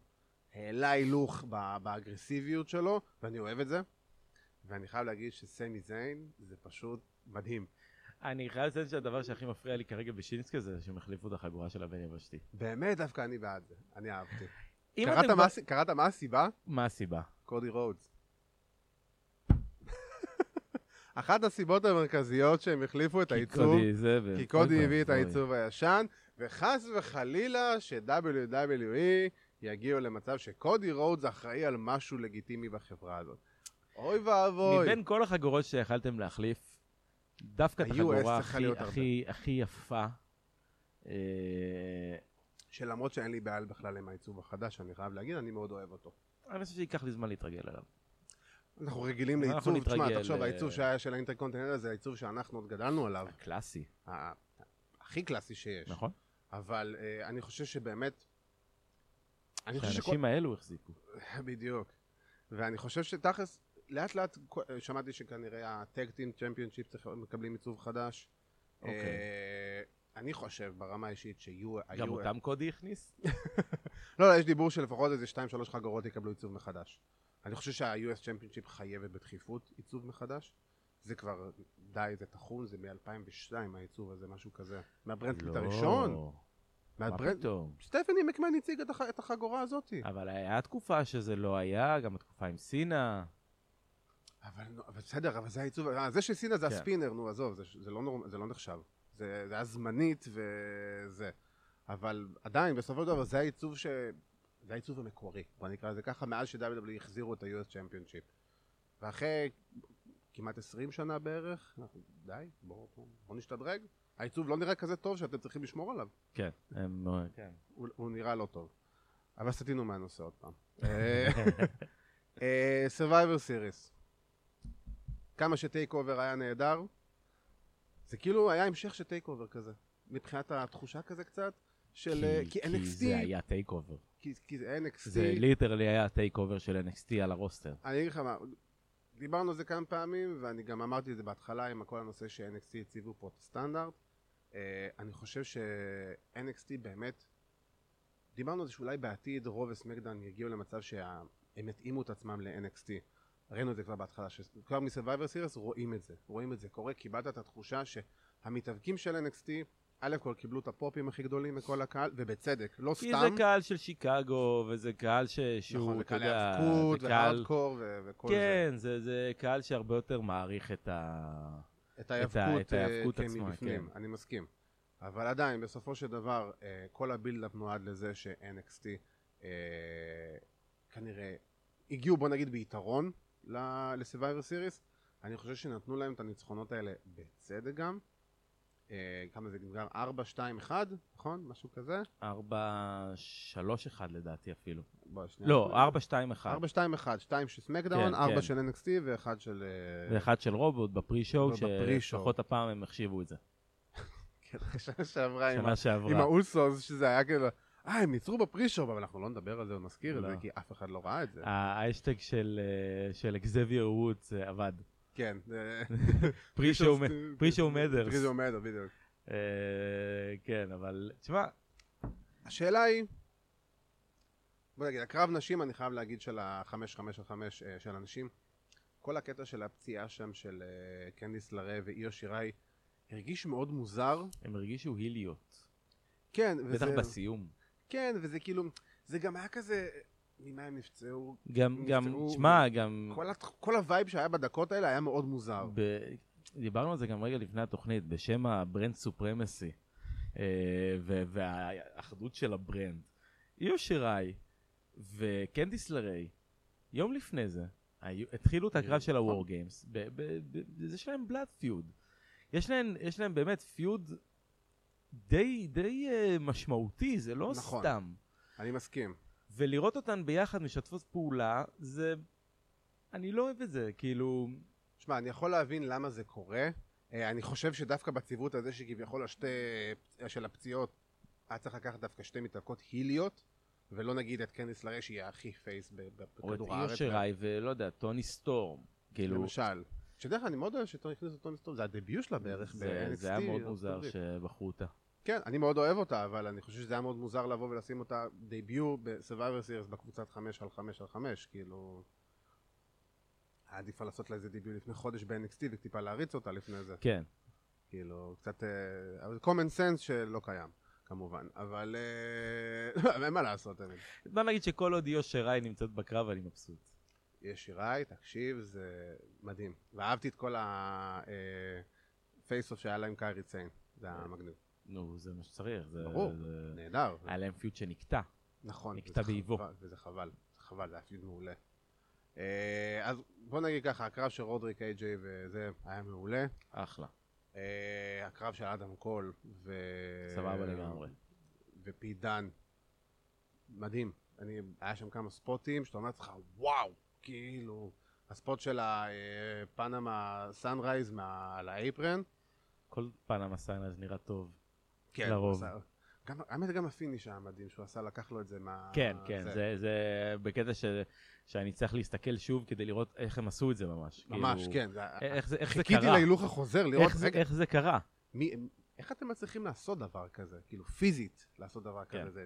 S1: העלה הילוך ב- באגרסיביות שלו, ואני אוהב את זה. ואני חייב להגיד שסמי זיין זה פשוט מדהים.
S2: אני חייב לציין שהדבר שהכי מפריע לי כרגע בשינסקי זה שהם החליפו את החגורה של הבן יבשתי.
S1: באמת דווקא אני בעד זה, אני אהבתי.
S2: אם
S1: קראת
S2: אתם-
S1: מה הס- קראת מה הסיבה?
S2: מה הסיבה?
S1: קודי רודס. אחת הסיבות המרכזיות שהם החליפו את העיצוב,
S2: קודי זה ו-
S1: כי קודי
S2: אוי
S1: הביא את
S2: ואבוי.
S1: העיצוב הישן, וחס וחלילה ש-WWE יגיעו למצב שקודי רודס אחראי על משהו לגיטימי בחברה הזאת. אוי ואבוי.
S2: מבין כל החגורות שיכלתם להחליף, דווקא את
S1: ה-US
S2: החגורה
S1: צריכה
S2: הכי-
S1: להיות הרבה.
S2: הכי הכי יפה. אה,
S1: שלמרות שאין לי בעיה בכלל עם העיצוב החדש, אני חייב להגיד, אני מאוד אוהב אותו.
S2: אני חושב שייקח לי זמן להתרגל אליו.
S1: אנחנו רגילים
S2: אנחנו
S1: לעיצוב, תשמע,
S2: נתרגל,
S1: תחשוב,
S2: אה,
S1: העיצוב שהיה של האינטרקונטיננטל זה העיצוב שאנחנו עוד גדלנו עליו,
S2: הקלאסי,
S1: ה- הכי קלאסי שיש.
S2: נכון?
S1: אבל אה, אני חושב שבאמת... אני חושב שכל...
S2: האנשים האלו החזיקו.
S1: בדיוק. ואני חושב שתכלס, לאט לאט כו- אה, שמעתי שכנראה הטק טים צ'מפיונשיפ מקבלים עיצוב חדש.
S2: אוקיי.
S1: אה, אני חושב ברמה האישית שיהיו...
S2: גם
S1: היו-
S2: אותם קודי הכניס?
S1: לא, לא, יש דיבור שלפחות איזה 2-3 חגורות יקבלו עיצוב מחדש. אני חושב שה-US צ'מפיונשיפ חייבת בדחיפות עיצוב מחדש. זה כבר די, זה טחון, זה מ-2002 העיצוב הזה, משהו כזה. מהברנדקליט
S2: לא.
S1: הראשון.
S2: מה
S1: מהברנד...
S2: פתאום?
S1: סטפני מקמן הציג את, הח... את החגורה הזאת.
S2: אבל היה תקופה שזה לא היה, גם התקופה עם סינה.
S1: אבל נו, אבל בסדר, אבל זה העיצוב, אה, זה של סינה זה
S2: כן.
S1: הספינר, נו עזוב, זה, ש- זה, לא, נורמ, זה לא נחשב. זה, זה היה זמנית וזה. אבל עדיין, בסופו של דבר זה העיצוב ש... זה העיצוב המקורי, בוא נקרא לזה ככה, מאז ש-WWE החזירו את ה-US Championship. ואחרי כמעט 20 שנה בערך, אנחנו- די, בואו בוא נשתדרג. העיצוב לא נראה כזה טוב שאתם צריכים לשמור עליו.
S2: כן. הם, אה,
S1: הוא, הוא נראה לא טוב. אבל סטינו מהנושא עוד פעם. אה, אה, Survivor Series. כמה שטייק אובר היה נהדר, זה כאילו היה המשך של טייק אובר כזה. מבחינת התחושה כזה קצת, של... אה, כי
S2: כי זה
S1: NXT,
S2: היה טייק אובר.
S1: כי- כי זה NXT,
S2: זה ליטרלי היה הטייק אובר של NXT על הרוסטר.
S1: אני אגיד לך מה, דיברנו על זה כמה פעמים, ואני גם אמרתי את זה בהתחלה עם כל הנושא ש-NXT הציבו פה את הסטנדרט. אה, אני חושב ש-NXT באמת, דיברנו על זה שאולי בעתיד רוב וסמקדן יגיעו למצב שהם יתאימו את עצמם ל-NXT. ראינו את זה כבר בהתחלה, ש... כבר מסרווייבר סירס רואים את זה, רואים את זה קורה, קיבלת את התחושה שהמתאבקים של NXT, א' כל קיבלו את הפופים הכי גדולים מכל הקהל, ובצדק, לא
S2: כי
S1: סתם.
S2: זה קהל של שיקגו, וזה קהל ש...
S1: נכון,
S2: שהוא,
S1: זה
S2: אתה
S1: קהל
S2: יודע,
S1: ההיאבקות
S2: זה קהל...
S1: והארדקור ו- וכל
S2: כן, זה, זה קהל שהרבה יותר מעריך את ה...
S1: זה. את ההיאבקות
S2: את ההיאבקות
S1: אה, כן,
S2: עצמה,
S1: מבפנים, אני מסכים. אבל עדיין, בסופו של דבר, אה, כל הבילדאפ נועד לזה ש-NXT אה, כנראה הגיעו, בוא נגיד, ביתרון ל- ל-Survivor Series. אני חושב שנתנו להם את הניצחונות האלה בצדק גם. אה, כמה זה גם? 4, 2, 1, נכון? משהו כזה?
S2: 4-3-1 לדעתי אפילו.
S1: בוא, שנייה.
S2: לא, 4-2-1.
S1: 4, 2, 1, 2 של
S2: כן,
S1: סמקדאון,
S2: כן.
S1: 4 של NXT ואחד של... אה,
S2: ואחד של רובוט בפרי-שואו,
S1: בפרי-שואו.
S2: שלפחות הפעם הם החשיבו את זה.
S1: כן, שנה שעברה עם
S2: שנה
S1: עם
S2: שעברה.
S1: האולסוס, שזה היה כאילו, אה, הם ניצרו בפרישופ, אבל אנחנו לא נדבר על זה ונזכיר את
S2: לא. אה.
S1: זה, כי אף אחד לא ראה את זה.
S2: האשטג של אה, של אקזבייר וודס אה, עבד.
S1: כן. זה-
S2: פרי-שואו פרי-שואו מדרס.
S1: פרישו מדרס, בדיוק.
S2: אה, כן, אבל תשמע,
S1: השאלה היא, בוא נגיד, הקרב נשים, אני חייב להגיד, של החמש, חמש על חמש אה, של הנשים, כל הקטע של הפציעה שם של אה, קנדיס לרה ואיו שיראי, הרגיש מאוד מוזר.
S2: הם הרגישו היליות.
S1: כן,
S2: בטח
S1: וזה...
S2: בסיום.
S1: כן, וזה כאילו, זה גם היה כזה, ממה הם נפצעו?
S2: גם, גם,
S1: נפטרו-
S2: תשמע, גם...
S1: כל הת- כל הווייב שהיה בדקות האלה היה מאוד מוזר.
S2: ב... דיברנו על זה גם רגע לפני התוכנית, בשם הברנד סופרמסי, אה, ו- והאחדות של הברנד. איו שיראי וקנדיס לריי, יום לפני זה, היו, התחילו את
S1: אה,
S2: הקרב של
S1: נכון.
S2: הוור גיימס, ב- ב- ב- יש להם בלאד פיוד. יש להם, יש להם באמת פיוד די, די אה, משמעותי, זה לא
S1: נכון.
S2: סתם.
S1: אני מסכים.
S2: ולראות אותן ביחד משתפות פעולה, זה... אני לא אוהב את זה, כאילו...
S1: שמע, אני יכול להבין למה זה קורה. אה, אני חושב שדווקא בציוות הזה שכביכול השתי אה, של הפציעות, היה צריך לקחת דווקא שתי מתאבקות היליות, ולא נגיד את קנדיס לרי שהיא הכי פייס ב- ב-
S2: או את
S1: בכדור
S2: איר
S1: הארץ.
S2: שראי ולא יודע, טוני סטורם. כאילו,
S1: למשל. שדרך אגב, אני מאוד אוהב שאתה הכניס אותו מסתום, זה הדביוט שלה בערך
S2: זה-
S1: ב-NXT.
S2: זה היה מאוד
S1: אז
S2: מוזר
S1: תביא.
S2: שבחרו אותה.
S1: כן, אני מאוד אוהב אותה, אבל אני חושב שזה היה מאוד מוזר לבוא ולשים אותה דביוט ב-Survivor Series בקבוצת 5 על 5 על 5, כאילו... היה עדיף לה לעשות לה איזה דביוט לפני חודש ב-NXT וטיפה להריץ אותה לפני זה.
S2: כן,
S1: כאילו, קצת... אה, אבל common sense שלא קיים, כמובן. אבל... אה, אין מה לעשות, אני...
S2: בוא נגיד שכל עוד איו שראי נמצאת בקרב אני מבסוט.
S1: יש שיראי, תקשיב, זה מדהים. ואהבתי את כל הפייס אוף שהיה לה עם קיירי ציין. זה היה מגניב.
S2: נו, זה מה שצריך. זה-
S1: ברור.
S2: זה-
S1: נהדר.
S2: היה להם פיוט שנקטע.
S1: נכון.
S2: נקטע
S1: וזה
S2: באיבו.
S1: חבל, וזה חבל. זה חבל, זה היה פיוד מעולה. אה, אז בוא נגיד ככה, הקרב של רודריק איי-ג'יי וזה היה מעולה.
S2: אחלה,
S1: אה, הקרב של אדם קול ו... אה,
S2: סבבה לגמרי.
S1: ופי דן. מדהים. אני, היה שם כמה ספוטים שאתה אומר לעצמך, וואו, כאילו, הספוט של הפנמה סאנרייז מה- על האייפרן.
S2: כל פנמה סיינרס נראה טוב.
S1: כן,
S2: לרוב.
S1: הוא עשה- גם, האמת, גם הפיניש היה מדהים שהוא עשה, לקח לו את אה, זה מה...
S2: כן, כן, זה- זה בקטע ש- שאני צריך להסתכל שוב כדי לראות איך הם עשו את זה ממש.
S1: ממש,
S2: כאילו,
S1: כן. זה-
S2: איך זה איך זה
S1: חיכיתי
S2: קרה?
S1: להילוך החוזר, לראות,
S2: איך זה-
S1: רגע,
S2: איך זה קרה?
S1: מי, איך אתם מצליחים לעשות דבר כזה? כאילו, פיזית לעשות דבר
S2: כן.
S1: כזה. זה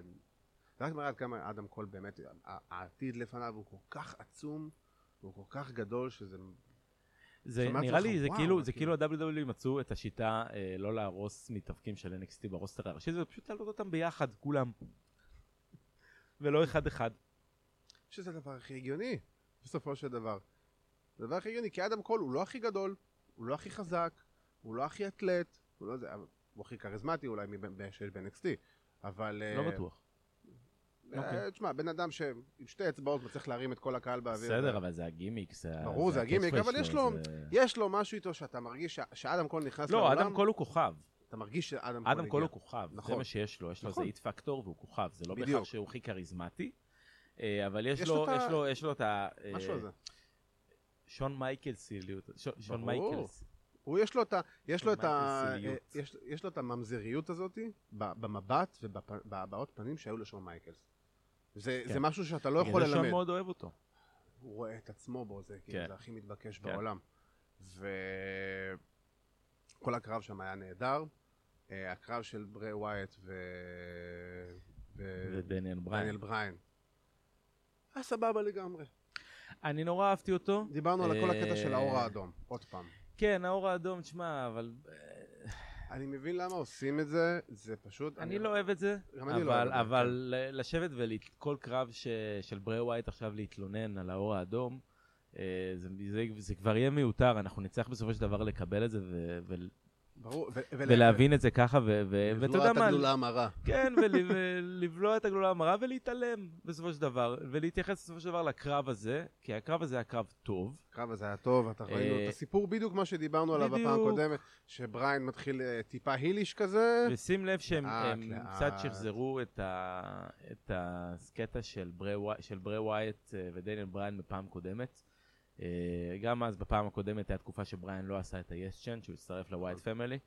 S1: זה רק מראה עד כמה אדם קול באמת, ה- העתיד לפניו הוא כל כך עצום, הוא כל כך גדול, שזה...
S2: זה
S1: שמעת
S2: נראה
S1: לך,
S2: לי, זה
S1: וואו,
S2: כאילו, זה כאילו
S1: כאילו.
S2: ה-WWE מצאו את השיטה אה, לא להרוס מתאבקים של NXT ברוסטר הראשי, זה פשוט להעלות אותם ביחד, כולם. ולא אחד אחד.
S1: שזה הדבר הכי הגיוני, בסופו של דבר. זה הדבר הכי הגיוני, כי אדם קול הוא לא הכי גדול, הוא לא הכי חזק, הוא לא הכי אתלט, הוא לא זה, אבל הוא הכי כריזמטי אולי מבין- בין- שיש ב-NXT, אבל...
S2: לא
S1: אה,
S2: בטוח.
S1: אה,
S2: אוקיי.
S1: תשמע, בן אדם שעם שתי אצבעות מצליח להרים את כל הקהל באוויר.
S2: בסדר, אבל זה הגימיק. זה ה-
S1: ברור, זה הגימיק,
S2: ה-catchphrase
S1: אבל יש
S2: שלו,
S1: לו-
S2: זה-
S1: יש לו משהו איתו שאתה מרגיש ש- שאדם קול נכנס
S2: לא,
S1: לעולם,
S2: אדם קול הוא כוכב.
S1: אתה מרגיש שאדם קול
S2: אדם קול
S1: הגיע.
S2: הוא כוכב, זה
S1: נכון.
S2: מה שיש לו. יש לו איזה
S1: נכון.
S2: איט פקטור והוא כוכב. זה לא
S1: בדיוק.
S2: בהכרח שהוא הכי כריזמטי, אה, אבל יש
S1: יש לו
S2: לו-
S1: את ה-
S2: יש לו- יש לו את ה... אה,
S1: משהו הזה.
S2: שון מייקלסיליות. שון- שון
S1: ברור. לא
S2: מייקלס.
S1: הוא יש לו את ה... יש לו את ה...
S2: הממזריות.
S1: אה, יש, יש לו את הממזריות הזאת ב- במבט ובהבעות פנים שהיו לשון מייקלס. זה,
S2: כן.
S1: זה משהו שאתה לא
S2: בגלל
S1: יכול
S2: זה שון
S1: ללמד.
S2: מאוד אוהב אותו.
S1: הוא רואה את עצמו בו, זה כאילו,
S2: כן.
S1: זה הכי מתבקש
S2: כן.
S1: בעולם. וכל הקרב שם היה נהדר. אה, הקרב של ברי ווייט ו... ו...
S2: ודניאל בריין.
S1: דניאל בריין. היה סבבה לגמרי.
S2: אני נורא אהבתי אותו.
S1: דיברנו על כל הקטע
S2: אה,
S1: של האור האדום, עוד פעם.
S2: כן, האור האדום, תשמע, אבל אה,
S1: אני מבין למה עושים את זה, זה פשוט...
S2: אני לא אוהב את זה.
S1: גם אני לא
S2: אבל-
S1: אוהב את זה,
S2: אבל אה, לשבת ולכל קרב ש- של ברי ווייט עכשיו להתלונן על האור האדום, אה, זה- זה- זה כבר יהיה מיותר, אנחנו נצטרך בסופו של דבר לקבל את זה ו- ו-
S1: כן. ברור, ו- ול-
S2: ולהבין את זה ככה, ו- ו- ואתה
S1: לבלוע
S2: יודע
S1: את
S2: מה,
S1: אה, הגלולה המרה.
S2: כן, ול- ולבלוע את הגלולה המרה ולהתעלם בסופו של דבר, ולהתייחס בסופו של דבר לקרב הזה, כי הקרב הזה היה קרב טוב.
S1: הקרב הזה היה טוב, אתה ראינו
S2: אה,
S1: את הסיפור בדיוק מה שדיברנו עליו בפעם
S2: בדיוק.
S1: הקודמת, שבריין מתחיל אה, טיפה היליש כזה,
S2: ושים לב שהם
S1: לאט,
S2: הם
S1: לאט.
S2: קצת שחזרו את, ה, את הסקטה של ברי, ווי- של ברי ווייט אה, ודניאל בריין בפעם קודמת. אה, גם אז בפעם הקודמת הייתה תקופה שבריין לא עשה את ה-yes chant, שהוא הצטרף לווייט פמילי.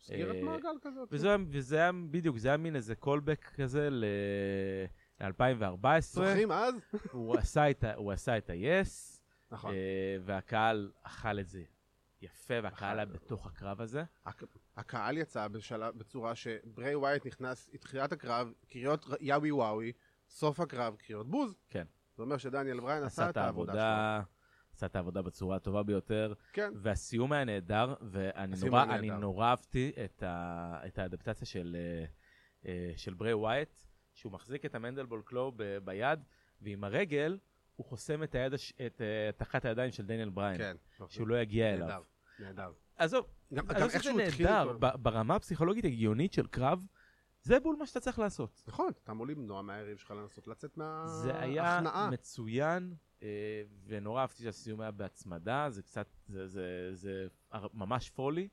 S1: סגירת
S2: אה,
S1: מעגל כזאת.
S2: וזה, היה- וזה היה, בדיוק, זה היה מין איזה קולבק כזה ל... 2014,
S1: זוכרים אז?
S2: הוא עשה את ה- הוא עשה את ה-yes,
S1: נכון.
S2: אה, והקהל אכל את זה יפה, והקהל היה בתוך הקרב הזה.
S1: הק- הקהל יצא בשלב, בצורה שברי ווייט נכנס, תחילת הקרב, קריאות ר- יאווי וואוי, סוף הקרב, קריאות בוז.
S2: כן.
S1: זה אומר שדניאל בריין
S2: עשה את
S1: שלו.
S2: העבודה, עשה את העבודה בצורה הטובה ביותר,
S1: כן.
S2: והסיום היה נהדר, ואני
S1: הסיום
S2: נורא,
S1: היה
S2: אני
S1: נהדר.
S2: נורא אהבתי את, ה, את האדפטציה של, אה, אה, של ברי ווייט, שהוא מחזיק את המנדלבול קלו ב, ביד, ועם הרגל הוא חוסם את, היד, הש- את, אה, את אחת הידיים של דניאל בריין,
S1: כן.
S2: שהוא לא יגיע
S1: נהדר,
S2: אליו.
S1: נהדר.
S2: עזוב,
S1: גם גם
S2: עזוב
S1: איך
S2: שזה
S1: שהוא התחיל...
S2: נהדר,
S1: כל-
S2: ב- ברמה הפסיכולוגית הגיונית של קרב, זה בול מה שאתה צריך לעשות.
S1: נכון, אתה אמור למנוע מהיריב שלך לנסות לצאת מההכנעה.
S2: זה היה מצוין, אה, ונורא אהבתי שהסיום היה בהצמדה, זה קצת, זה, זה, זה הר- ממש פולי.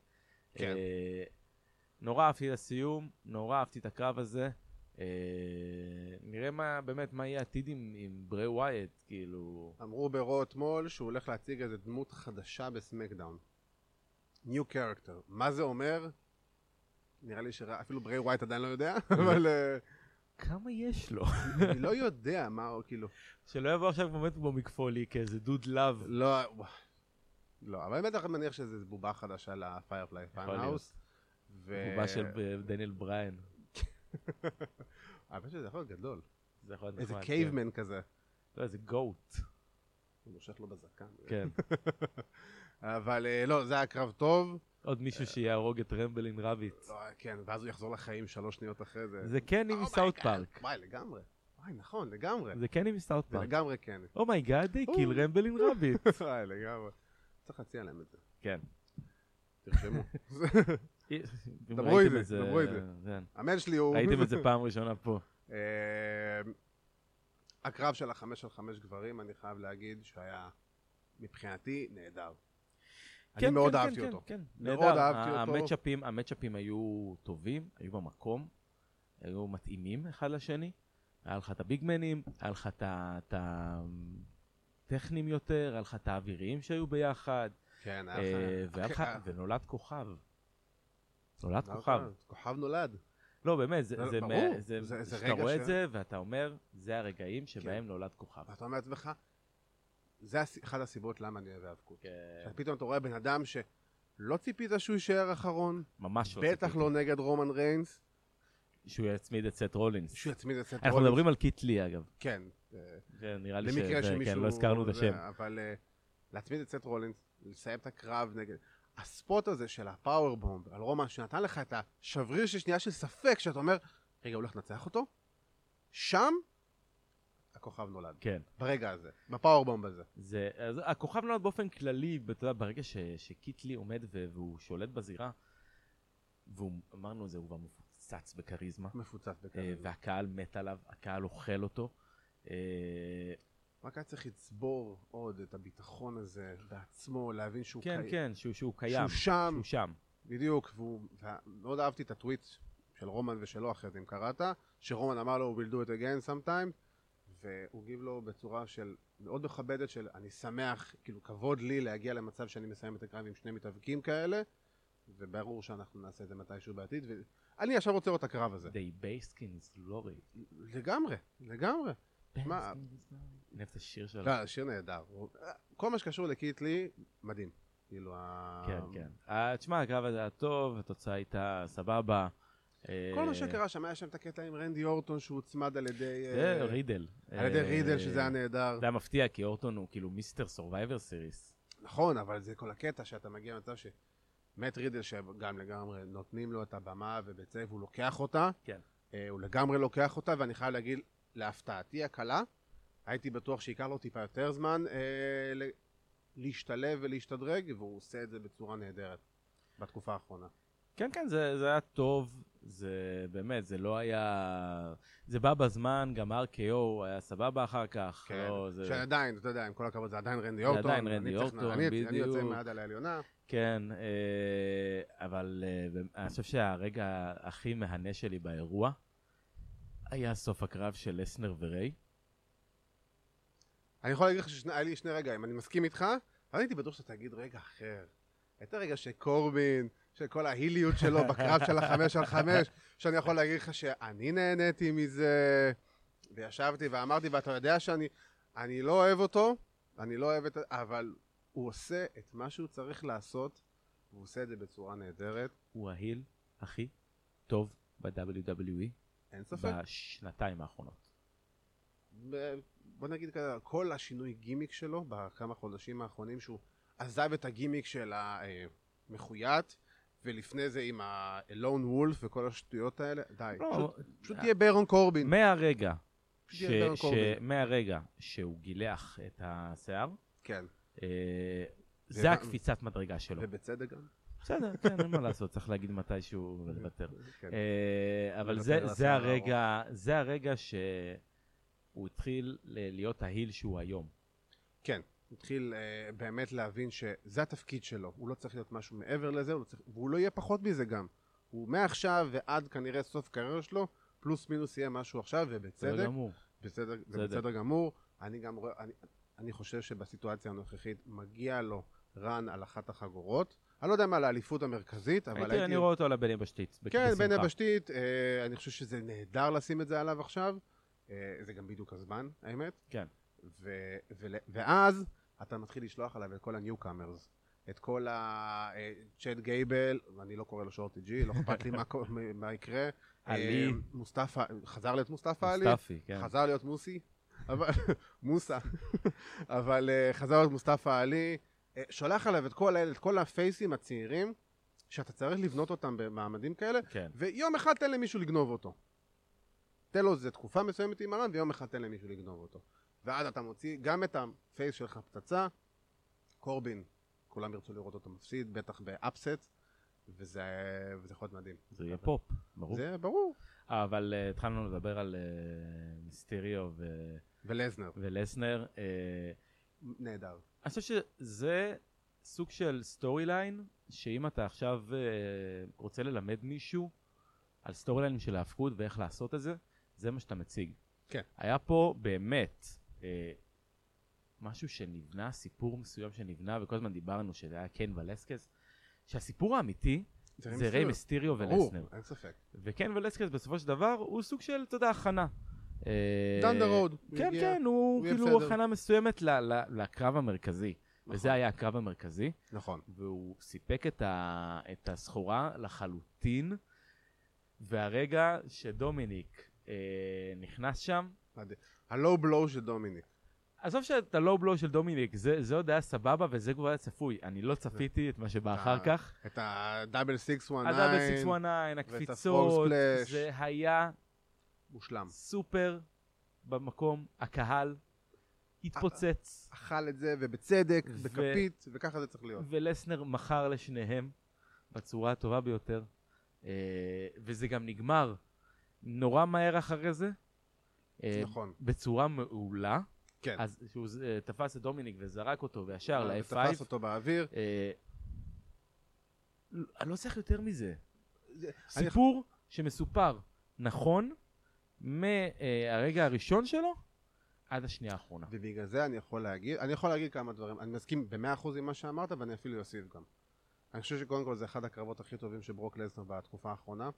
S1: כן.
S2: אה, נורא אהבתי את הסיום, נורא אהבתי את הקרב הזה. אה, נראה מה, באמת, מה יהיה העתיד עם, עם ברי ווייט, כאילו...
S1: אמרו ברו אתמול שהוא הולך להציג איזה דמות חדשה בסמקדאון. New character. מה זה אומר? נראה לי שאפילו ברי ווייט עדיין לא יודע, אבל אה,
S2: כמה יש לו?
S1: אני לא יודע מה, או כאילו...
S2: שלא יבוא עכשיו באמת כמו מקפולי כאיזה דוד לאב.
S1: לא... וואי. לא, אבל באמת אני מניח שזה בובה חדשה לפיירפליי
S2: יכול להיות.
S1: פיינהאוס.
S2: תגובה של אה, דניאל בריין.
S1: אני חושב שזה יכול להיות גדול.
S2: זה יכול להיות
S1: איזה
S2: נחמד, כן.
S1: קייבמן כזה.
S2: לא, איזה גוט.
S1: הוא מושך לו בזקן.
S2: כן.
S1: אבל אה, לא, זה היה קרב טוב.
S2: עוד מישהו שיהרוג את רמבלין רביץ.
S1: לא, כן, ואז הוא יחזור לחיים שלוש שניות אחרי זה.
S2: זה קני
S1: Oh my
S2: מסאוט
S1: God.
S2: פארק.
S1: וואי, לגמרי. וואי, נכון, לגמרי.
S2: זה קני מסאוט
S1: זה
S2: פארק.
S1: לגמרי Oh. כן.
S2: אומייגאד, they
S1: או.
S2: kill רמבלין רביט.
S1: וואי, לגמרי. צריך להציע להם את זה.
S2: כן.
S1: תרשמו.
S2: אם
S1: דברו
S2: ראיתם
S1: איתי,
S2: את זה,
S1: דברו Oh. איתי.
S2: כן.
S1: הבן שלי הוא...
S2: ראיתם את זה פעם ראשונה פה.
S1: אה, הקרב של החמש על חמש גברים, אני חייב להגיד שהיה מבחינתי נהדר. אני
S2: כן,
S1: מאוד
S2: כן,
S1: אהבתי
S2: כן,
S1: אותו.
S2: כן, כן.
S1: מאוד
S2: נהדר.
S1: אהבתי
S2: ה-
S1: אותו.
S2: המצ'אפים- המצ'אפים היו טובים, היו במקום, היו מתאימים אחד לשני. היה לך את הביגמנים, היה לך את ה- את הטכנים יותר, היה לך את האוויריים שהיו ביחד,
S1: כן,
S2: אה,
S1: היה
S2: והיה לך-
S1: אחי,
S2: ונולד כוכב. נולד
S1: אה,
S2: כוכב.
S1: כוכב נולד.
S2: לא, באמת, זה,
S1: לא,
S2: זה,
S1: ברור.
S2: מה- זה,
S1: זה- זה
S2: שאתה
S1: רגע
S2: רואה
S1: ש- כן.
S2: את זה ואתה אומר, זה הרגעים שבהם נולד כוכב.
S1: ואתה אומר לעצמך, זה הס- אחת הסיבות למה אני אוהב האבקות.
S2: כן,
S1: פתאום אתה רואה בן אדם שלא ציפית שהוא יישאר אחרון,
S2: ממש לא
S1: בטח
S2: ציפיתי.
S1: לא נגד רומן ריינס,
S2: שהוא יצמיד את סט רולינס.
S1: שהוא יצמיד את סט
S2: אנחנו
S1: רולינס.
S2: מדברים על קיט לי אגב.
S1: כן, אה,
S2: זה נראה לי
S1: למקרה
S2: שזה-
S1: שמישהו...
S2: כן, לא הזכרנו את
S1: זה,
S2: השם.
S1: אבל אה, להצמיד את סט רולינס, לסיים את הקרב נגד... הספוט הזה של הפאוורבומב על רומן, שנתן לך את השבריר של שנייה של ספק, שאתה אומר, רגע, הוא הולך לנצח אותו? שם הכוכב נולד.
S2: כן.
S1: ברגע הזה, בפאוורבומב הזה.
S2: זה, אז הכוכב נולד באופן כללי, אתה יודע, ברגע ש, שקיט לי עומד ו, והוא שולט בזירה, והוא, אמרנו את זה, הוא כבר מפוצץ בכריזמה,
S1: מפוצץ
S2: אה,
S1: בקרב.
S2: והקהל מת עליו, הקהל אוכל אותו. אה,
S1: רק היה צריך לצבור עוד את הביטחון הזה בעצמו, להבין שהוא
S2: כן,
S1: קיים.
S2: כן, שהוא, שהוא קיים,
S1: שהוא שם,
S2: שהוא שם.
S1: בדיוק, והוא- ומאוד אהבתי את הטוויט של רומן ושלו אחרי זה, אם קראת, שרומן אמר לו, we'll do it again sometime, והוא הגיב לו בצורה של, מאוד מכבדת של, אני שמח, כאילו, כבוד לי להגיע למצב שאני מסיים את הקרב עם שני מתאבקים כאלה, וברור שאנחנו נעשה את זה מתישהו בעתיד, ואני עכשיו רוצה לראות את הקרב הזה.
S2: They based in glory.
S1: לגמרי, לגמרי. מה,
S2: Based in glory. אני אוהב את השיר שלו.
S1: לא, השיר נהדר. הוא- כל מה שקשור לקיטלי, מדהים. כאילו, ה-
S2: כן, כן. אה, תשמע, הקרב הזה היה טוב, התוצאה הייתה סבבה. אה,
S1: כל מה שקרה שם, היה שם את הקטע עם רנדי אורטון שהוצמד על ידי... אה,
S2: רידל.
S1: על ידי
S2: אה,
S1: רידל, שזה היה נהדר.
S2: זה היה מפתיע, כי אורטון הוא כאילו מיסטר סורווייבר סיריס.
S1: נכון, אבל זה כל הקטע שאתה מגיע למצב שמט רידל, שגם לגמרי נותנים לו את הבמה ובצדק, הוא לוקח אותה.
S2: כן.
S1: אה, הוא לגמרי לוקח אותה, ואני חייב להגיד, להפתעתי הקלה, הייתי בטוח שייקח לו טיפה יותר זמן אה, ל- להשתלב ולהשתדרג, והוא עושה את זה בצורה נהדרת בתקופה האחרונה.
S2: כן, כן, זה, זה היה טוב, זה באמת, זה לא היה... זה בא בזמן, גם RKO היה סבבה אחר כך.
S1: כן,
S2: לא, זה...
S1: שעדיין, אתה יודע, עם כל הכבוד, זה עדיין רנדי
S2: זה
S1: אורטון.
S2: עדיין
S1: אני
S2: רנדי
S1: צריך-
S2: אורטון,
S1: אני- אני יוצא
S2: בדיוק.
S1: עם היד על העליונה.
S2: כן, אה, אבל אה, באמת, אני חושב שהרגע הכי מהנה שלי באירוע היה סוף הקרב של לסנר וריי.
S1: אני יכול להגיד לך שהיה לי שני רגעים, אני מסכים איתך, אבל הייתי בטוח שאתה תגיד רגע אחר. הייתה רגע שקורבין, של כל ההיליות שלו בקרב של החמש על חמש, שאני יכול להגיד לך שאני נהניתי מזה, וישבתי ואמרתי, ואתה יודע שאני אני לא אוהב אותו, אני לא אוהב את... אבל הוא עושה את מה שהוא צריך לעשות, והוא עושה את זה בצורה נהדרת,
S2: הוא ההיל הכי טוב ב-WWE
S1: אין ספק.
S2: בשנתיים האחרונות.
S1: ב- בוא נגיד כזה, כל השינוי גימיק שלו בכמה חודשים האחרונים שהוא עזב את הגימיק של המחויט ולפני זה עם ה-Lone Wolf וכל השטויות האלה, די.
S2: לא,
S1: אוקיי, פשוט- פשוט תהיה ברון קורבין.
S2: מהרגע,
S1: פשוט
S2: ש-
S1: תהיה ברון
S2: ש-
S1: קורבין.
S2: מהרגע שהוא גילח את השיער,
S1: כן,
S2: אה,
S1: ומה-
S2: זה הקפיצת מדרגה שלו.
S1: ובצדק גם.
S2: בסדר, כן, אין מה לעשות, צריך להגיד מתישהו ולוותר.
S1: כן.
S2: אה, אבל
S1: נוותר
S2: זה,
S1: על השיער
S2: זה הרגע, זה הרגע שהוא התחיל ל- להיות ההיל שהוא היום.
S1: כן, הוא התחיל אה, באמת להבין שזה התפקיד שלו, הוא לא צריך להיות משהו מעבר לזה, הוא לא צריך, והוא לא יהיה פחות מזה גם. הוא מעכשיו ועד כנראה סוף קריירה שלו, פלוס מינוס יהיה משהו עכשיו,
S2: בסדר
S1: ובצדק.
S2: גמור.
S1: בסדר, זה
S2: בסדר.
S1: בסדר גמור. אני גם רואה, אני, אני חושב שבסיטואציה הנוכחית מגיע לו רן על אחת החגורות. אני לא יודע מה, לאליפות המרכזית, אבל
S2: הייתי, אני רואה אותו על הבן יבשתית.
S1: כן,
S2: בשמחה.
S1: בן יבשתית, אה, אני חושב שזה נהדר לשים את זה עליו עכשיו. אה, זה גם בדיוק הזמן, האמת.
S2: כן.
S1: ו, ול, ואז אתה מתחיל לשלוח עליו את כל הניו-קאמרס. את כל ה... אה, צ'אט גייבל, אני לא קורא לו שורטי ג'י, לא אכפת לי מה, קו- מה יקרה.
S2: עלי.
S1: אה, מוסטפא, חזר להיות מוסטפא עלי.
S2: מוסטפי, כן.
S1: חזר להיות מוסי, אבל, מוסה, אבל אה, חזר להיות מוסטפא עלי, אה, שולח עליו את כל האלה, את כל הפייסים הצעירים, שאתה צריך לבנות אותם במעמדים כאלה,
S2: כן.
S1: ויום אחד תן למישהו לגנוב אותו. תן לו איזה תקופה מסוימת עם הרן, ויום אחד תן למישהו לגנוב אותו. ואז אתה מוציא גם את הפייס שלך פצצה, קורבין, כולם ירצו לראות אותו מפסיד, בטח באפסט, וזה, וזה יכול להיות מדהים.
S2: זה יהיה פופ, ברור.
S1: זה ברור.
S2: אבל אה, התחלנו לדבר על אה, מיסטריו ו-
S1: ולזנר,
S2: ולסנר. אה,
S1: נהדר.
S2: אני חושב שזה סוג של סטורי ליין, שאם אתה עכשיו אה, רוצה ללמד מישהו על סטורי ליין של ההפקות ואיך לעשות את זה, זה מה שאתה מציג.
S1: כן.
S2: היה פה באמת אה, משהו שנבנה, סיפור מסוים שנבנה, וכל הזמן דיברנו שזה היה קן ולסקס, שהסיפור האמיתי זה ריי מיסטיריו ולסנר.
S1: ברור, אין ספק.
S2: וקן ולסקס בסופו של דבר הוא סוג של, אתה יודע, הכנה. אה,
S1: דן דה רוד.
S2: כן, כן, הוא
S1: יהיה
S2: כאילו
S1: בסדר.
S2: הכנה מסוימת ל- ל- לקרב המרכזי.
S1: נכון.
S2: וזה היה הקרב המרכזי,
S1: נכון.
S2: והוא סיפק את, ה... את הסחורה לחלוטין, והרגע שדומיניק אה, נכנס שם,
S1: הלואו בלואו של דומיניק.
S2: עזוב שאת הלואו בלואו של דומיניק, זה, זה עוד היה סבבה וזה כבר היה צפוי, אני לא צפיתי את מה שבא
S1: אתה-
S2: אחר כך.
S1: את הדאבל סיקס וואן
S2: הדאבל 619, הקפיצות,
S1: הפרוגספלאש.
S2: זה היה
S1: מושלם.
S2: סופר במקום, הקהל התפוצץ,
S1: אכל את זה, ובצדק,
S2: ו-
S1: בכפית, וככה זה צריך להיות.
S2: ולסנר מכר לשניהם בצורה הטובה ביותר, אה, וזה גם נגמר נורא מהר אחרי זה, אה,
S1: נכון.
S2: בצורה מעולה,
S1: כן. אה,
S2: אז שהוא אה, תפס את דומיניק וזרק אותו וישר ל-F5,
S1: ותפס אותו באוויר.
S2: אה, לא- אני לא צריך יותר מזה.
S1: זה- אני-
S2: סיפור שמסופר נכון מהרגע הראשון שלו עד השנייה האחרונה.
S1: ובגלל זה אני יכול להגיד, אני יכול להגיד כמה דברים. אני מסכים במאה אחוז עם מה שאמרת, ואני אפילו אוסיף גם. אני חושב שקודם כל זה אחד הקרבות הכי טובים של ברוק לזנר בתקופה האחרונה,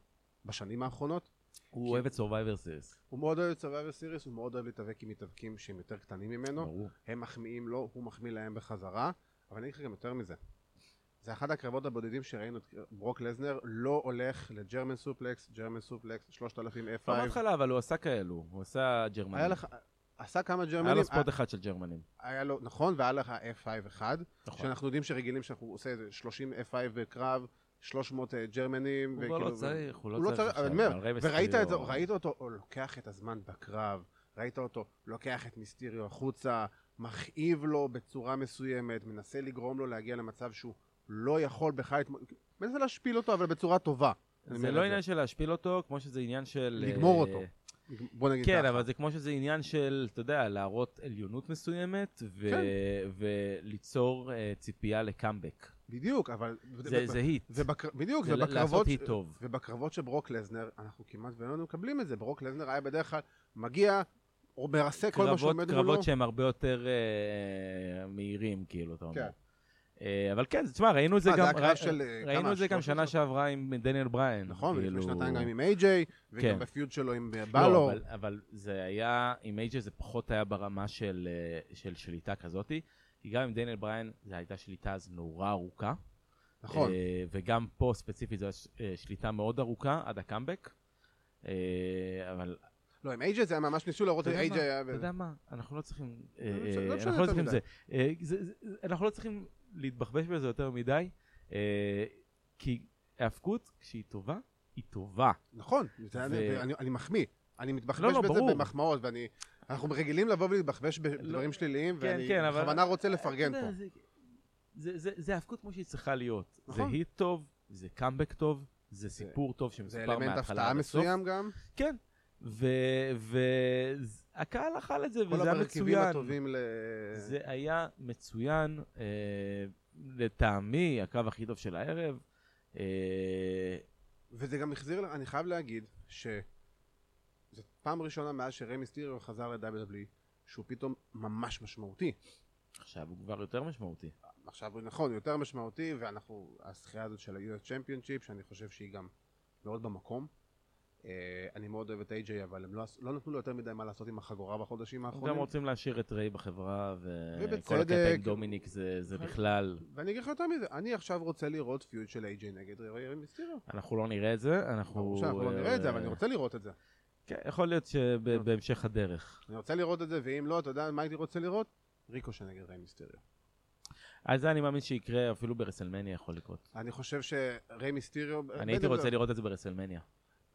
S1: בשנים האחרונות.
S2: הוא אוהב את Survivor Series.
S1: הוא מאוד אוהב את סרווייבר סיריס, הוא מאוד אוהב להתאבק עם מתאבקים שהם יותר קטנים ממנו,
S2: ברור.
S1: הם מחמיאים לו, הוא מחמיא להם בחזרה, אבל אני אגיד לך גם יותר מזה. זה אחד הקרבות הבודדים שראינו את ברוק לזנר, לא הולך לג'רמן סופלקס, ג'רמן סופלקס, 3000 F5.
S2: לא בהתחלה, אבל הוא עשה כאלו, הוא עשה ג'רמנים.
S1: היה לך, עשה כמה
S2: היה
S1: ג'רמנים, אה,
S2: לו ספוט אחד של ג'רמנים.
S1: היה לו, נכון, והיה לך F5 אחד,
S2: נכון.
S1: שאנחנו יודעים שרגילים שאנחנו עושים איזה 30 F5 בקרב, 300 אה, ג'רמנים.
S2: הוא כבר
S1: וכאילו-
S2: לא צריך, הוא
S1: הוא לא
S2: לא
S1: צריך,
S2: צריך
S1: אבל אני
S2: עכשיו, כאילו.
S1: אומר,
S2: אבל ריי
S1: וראית את זה,
S2: מסטיריו-
S1: ראית אותו הוא לוקח את הזמן בקרב, ראית אותו לוקח את מיסטיריו החוצה, מכאיב לו בצורה מסוימת, מנסה לגרום לו להגיע למצב שהוא לא יכול בכלל, להתמ- מנסה להשפיל אותו אבל בצורה טובה. אני
S2: זה
S1: אומר
S2: לא
S1: את
S2: עניין של להשפיל אותו, כמו שזה עניין של...
S1: לגמור
S2: אה,
S1: אותו. בוא נגיד
S2: כן,
S1: ככה.
S2: אבל זה כמו שזה עניין של, אתה יודע, להראות עליונות מסוימת, ו-
S1: כן.
S2: וליצור אה, ציפייה לקאמבק.
S1: בדיוק, אבל...
S2: זה זה היט.
S1: ובקר- בדיוק,
S2: זה ל-
S1: ובקרבות...
S2: לעשות היט טוב.
S1: ובקרבות של ברוק לזנר, אנחנו כמעט ואיננו מקבלים את זה. ברוק לזנר היה בדרך כלל מגיע, או מרסק כל מה
S2: קרבות-
S1: שעומד מולו.
S2: קרבות שהם הרבה יותר אה, מהירים, כאילו, אתה אומר.
S1: כן.
S2: אה, אבל כן, תשמע, ראינו את זה
S1: אה, זה
S2: גם...
S1: היה קרב
S2: רא-
S1: של, אה,
S2: ראינו
S1: כמה?
S2: את זה גם
S1: 13?
S2: שנה שעברה עם דניאל בריין.
S1: נכון,
S2: כאילו-
S1: ולפני שנתיים גם עם איי-ג'יי, וגם
S2: כן.
S1: בפיוד שלו עם אה,
S2: לא,
S1: בלור.
S2: אבל, אבל זה היה, עם אייג'ה זה פחות היה ברמה של, אה, של שליטה כזאתי, כי גם עם דניאל בריין זו הייתה שליטה אז נורא ארוכה.
S1: נכון.
S2: אה, וגם פה ספציפית זו הייתה ש- אה, שליטה מאוד ארוכה עד הקאמבק. אה, אבל
S1: לא, עם אייג'יי זה היה ממש ניסו להראות,
S2: אתה יודע
S1: אייג'יי
S2: מה?
S1: היה...
S2: אתה יודע מה, אנחנו לא צריכים, אה,
S1: לא
S2: אה,
S1: משנה- לא משנה
S2: אנחנו לא
S1: יותר
S2: צריכים
S1: מדי.
S2: זה, אה, זה- זה- זה- אנחנו לא צריכים להתבחבש בזה יותר מדי, אה, כי ההאבקות, כשהיא טובה, היא טובה.
S1: נכון, זה היה-
S2: ו-
S1: אני- אני מחמיא. אני מתבחבש
S2: לא, לא,
S1: בזה
S2: ברור.
S1: במחמאות, ואני... אנחנו רגילים לבוא ולהתבחבש בדברים שליליים,
S2: כן,
S1: ואני
S2: כן, אבל-
S1: בכוונה רוצה לפרגן
S2: אתה
S1: פה.
S2: יודע, זה- זה- זה- זה האבקות כמו שהיא צריכה להיות. זה
S1: נכון.
S2: היט טוב, זה קאמבק טוב, זה סיפור טוב
S1: זה
S2: שמסופר
S1: אלמנט
S2: מההתחלה
S1: הפתעה
S2: עד הסוף.
S1: מסוים גם.
S2: כן, והקהל אכל את זה,
S1: כל
S2: וזה היה
S1: המרכיבים
S2: מצוין.
S1: הטובים אה. ל...
S2: זה היה מצוין, אה, לטעמי, הקרב הכי טוב של הערב. אה,
S1: וזה גם החזיר, ל- אני חייב להגיד, שזו פעם ראשונה מאז שריי מיסטיריו חזר ל-WWE, שהוא פתאום ממש משמעותי.
S2: עכשיו הוא כבר יותר משמעותי.
S1: עכשיו הוא נכון, הוא יותר משמעותי, ואנחנו, הזכייה הזאת של ה-US Championship, שאני חושב שהיא גם מאוד במקום. אה, אני מאוד אוהב את AJ, אבל הם לא, עש- לא נתנו לו יותר מדי מה לעשות עם החגורה בחודשים
S2: אנחנו גם
S1: האחרונים.
S2: רוצים להשאיר את ריי בחברה, וכל
S1: ובצדק.
S2: הקטע עם דומיניק זה זה
S1: נכון.
S2: בכלל...
S1: ואני אגיד לך יותר מזה, אני עכשיו רוצה לראות פיוד של AJ נגד ריי מיסטיריו.
S2: אנחנו לא נראה את זה, אנחנו...
S1: ברור שאנחנו לא נראה את זה, אבל אני
S2: אה,
S1: רוצה לראות את זה.
S2: כן, יכול להיות
S1: אוקיי.
S2: שבהמשך הדרך.
S1: אני רוצה לראות את זה, ואם לא, אתה יודע מה הייתי רוצה לראות? ריקושה נגד ריי מיסטיריו.
S2: אז זה אני מאמין שיקרה, אפילו ברסלמניה יכול לקרות.
S1: אני חושב שריי מיסטיריו...
S2: אני הייתי רוצה לראות את זה ברסלמניה.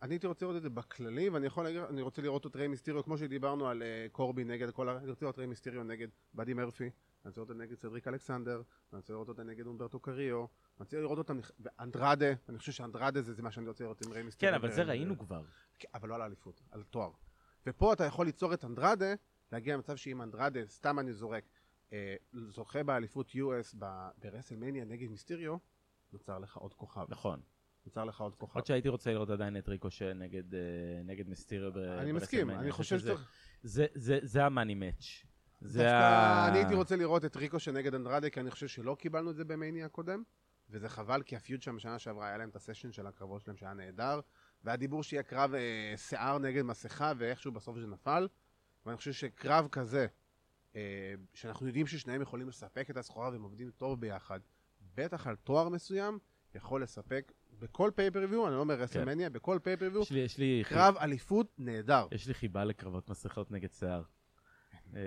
S1: אני הייתי רוצה לראות את זה בכללי, ואני יכול להגיד, אני רוצה לראות את ריי מיסטיריו, כמו שדיברנו על אה, קורבי נגד כל ה... אני רוצה לראות ריי מיסטיריו נגד באדי מרפי, אני רוצה לראות אותה נגד סדריק אלכסנדר, אני רוצה לראות אותה נגד אומברטו קריו, אני רוצה לראות אותה, נכ- ואנדרדה, אני חושב שאנדרדה זה, זה מה שאני רוצה לראות עם ריי מיסטיריו.
S2: כן, אבל זה
S1: ו-
S2: ראינו כבר.
S1: כן, אבל לא על האליפות, על תואר. ופה אתה יכול ליצור את אנדרדה, להגיע למצב שאם אנדרדה, סתם אני זורק, אה, זוכה באליפות US ב- ברסלמניה נגד מיסטיריו, נוצר לך עוד כוכב.
S2: נכון.
S1: נוצר לך עוד כוכב.
S2: למרות שהייתי רוצה לראות עדיין את ריקושה נגד, אה, נגד מיסטיריו ב- ברסלמניה.
S1: אני מסכים, אני חושב
S2: שזה...
S1: שצריך...
S2: זה, זה, זה המאני מאץ'. זה
S1: דווקא
S2: ה...
S1: אני הייתי רוצה לראות את ריקו שנגד אנדרדה, כי אני חושב שלא קיבלנו את זה במאניה הקודם, וזה חבל, כי הפיוד שם בשנה שעברה, היה להם את הסשן של הקרבות שלהם שהיה נהדר, והדיבור שיהיה קרב אה, שיער נגד מסכה, ואיכשהו בסוף זה נפל, ואני חושב שקרב כזה, אה, שאנחנו יודעים ששניהם יכולים לספק את הסחורה והם עובדים טוב ביחד, בטח על תואר מסוים, יכול לספק בכל פייפריוויו, אני לא אומר רסלמניה, בכל פייפריוויו,
S2: כן. יש לי, יש, לי,
S1: קרב אליפות נהדר.
S2: יש לי חיבה לקרבות מסכות נגד שיער. אה,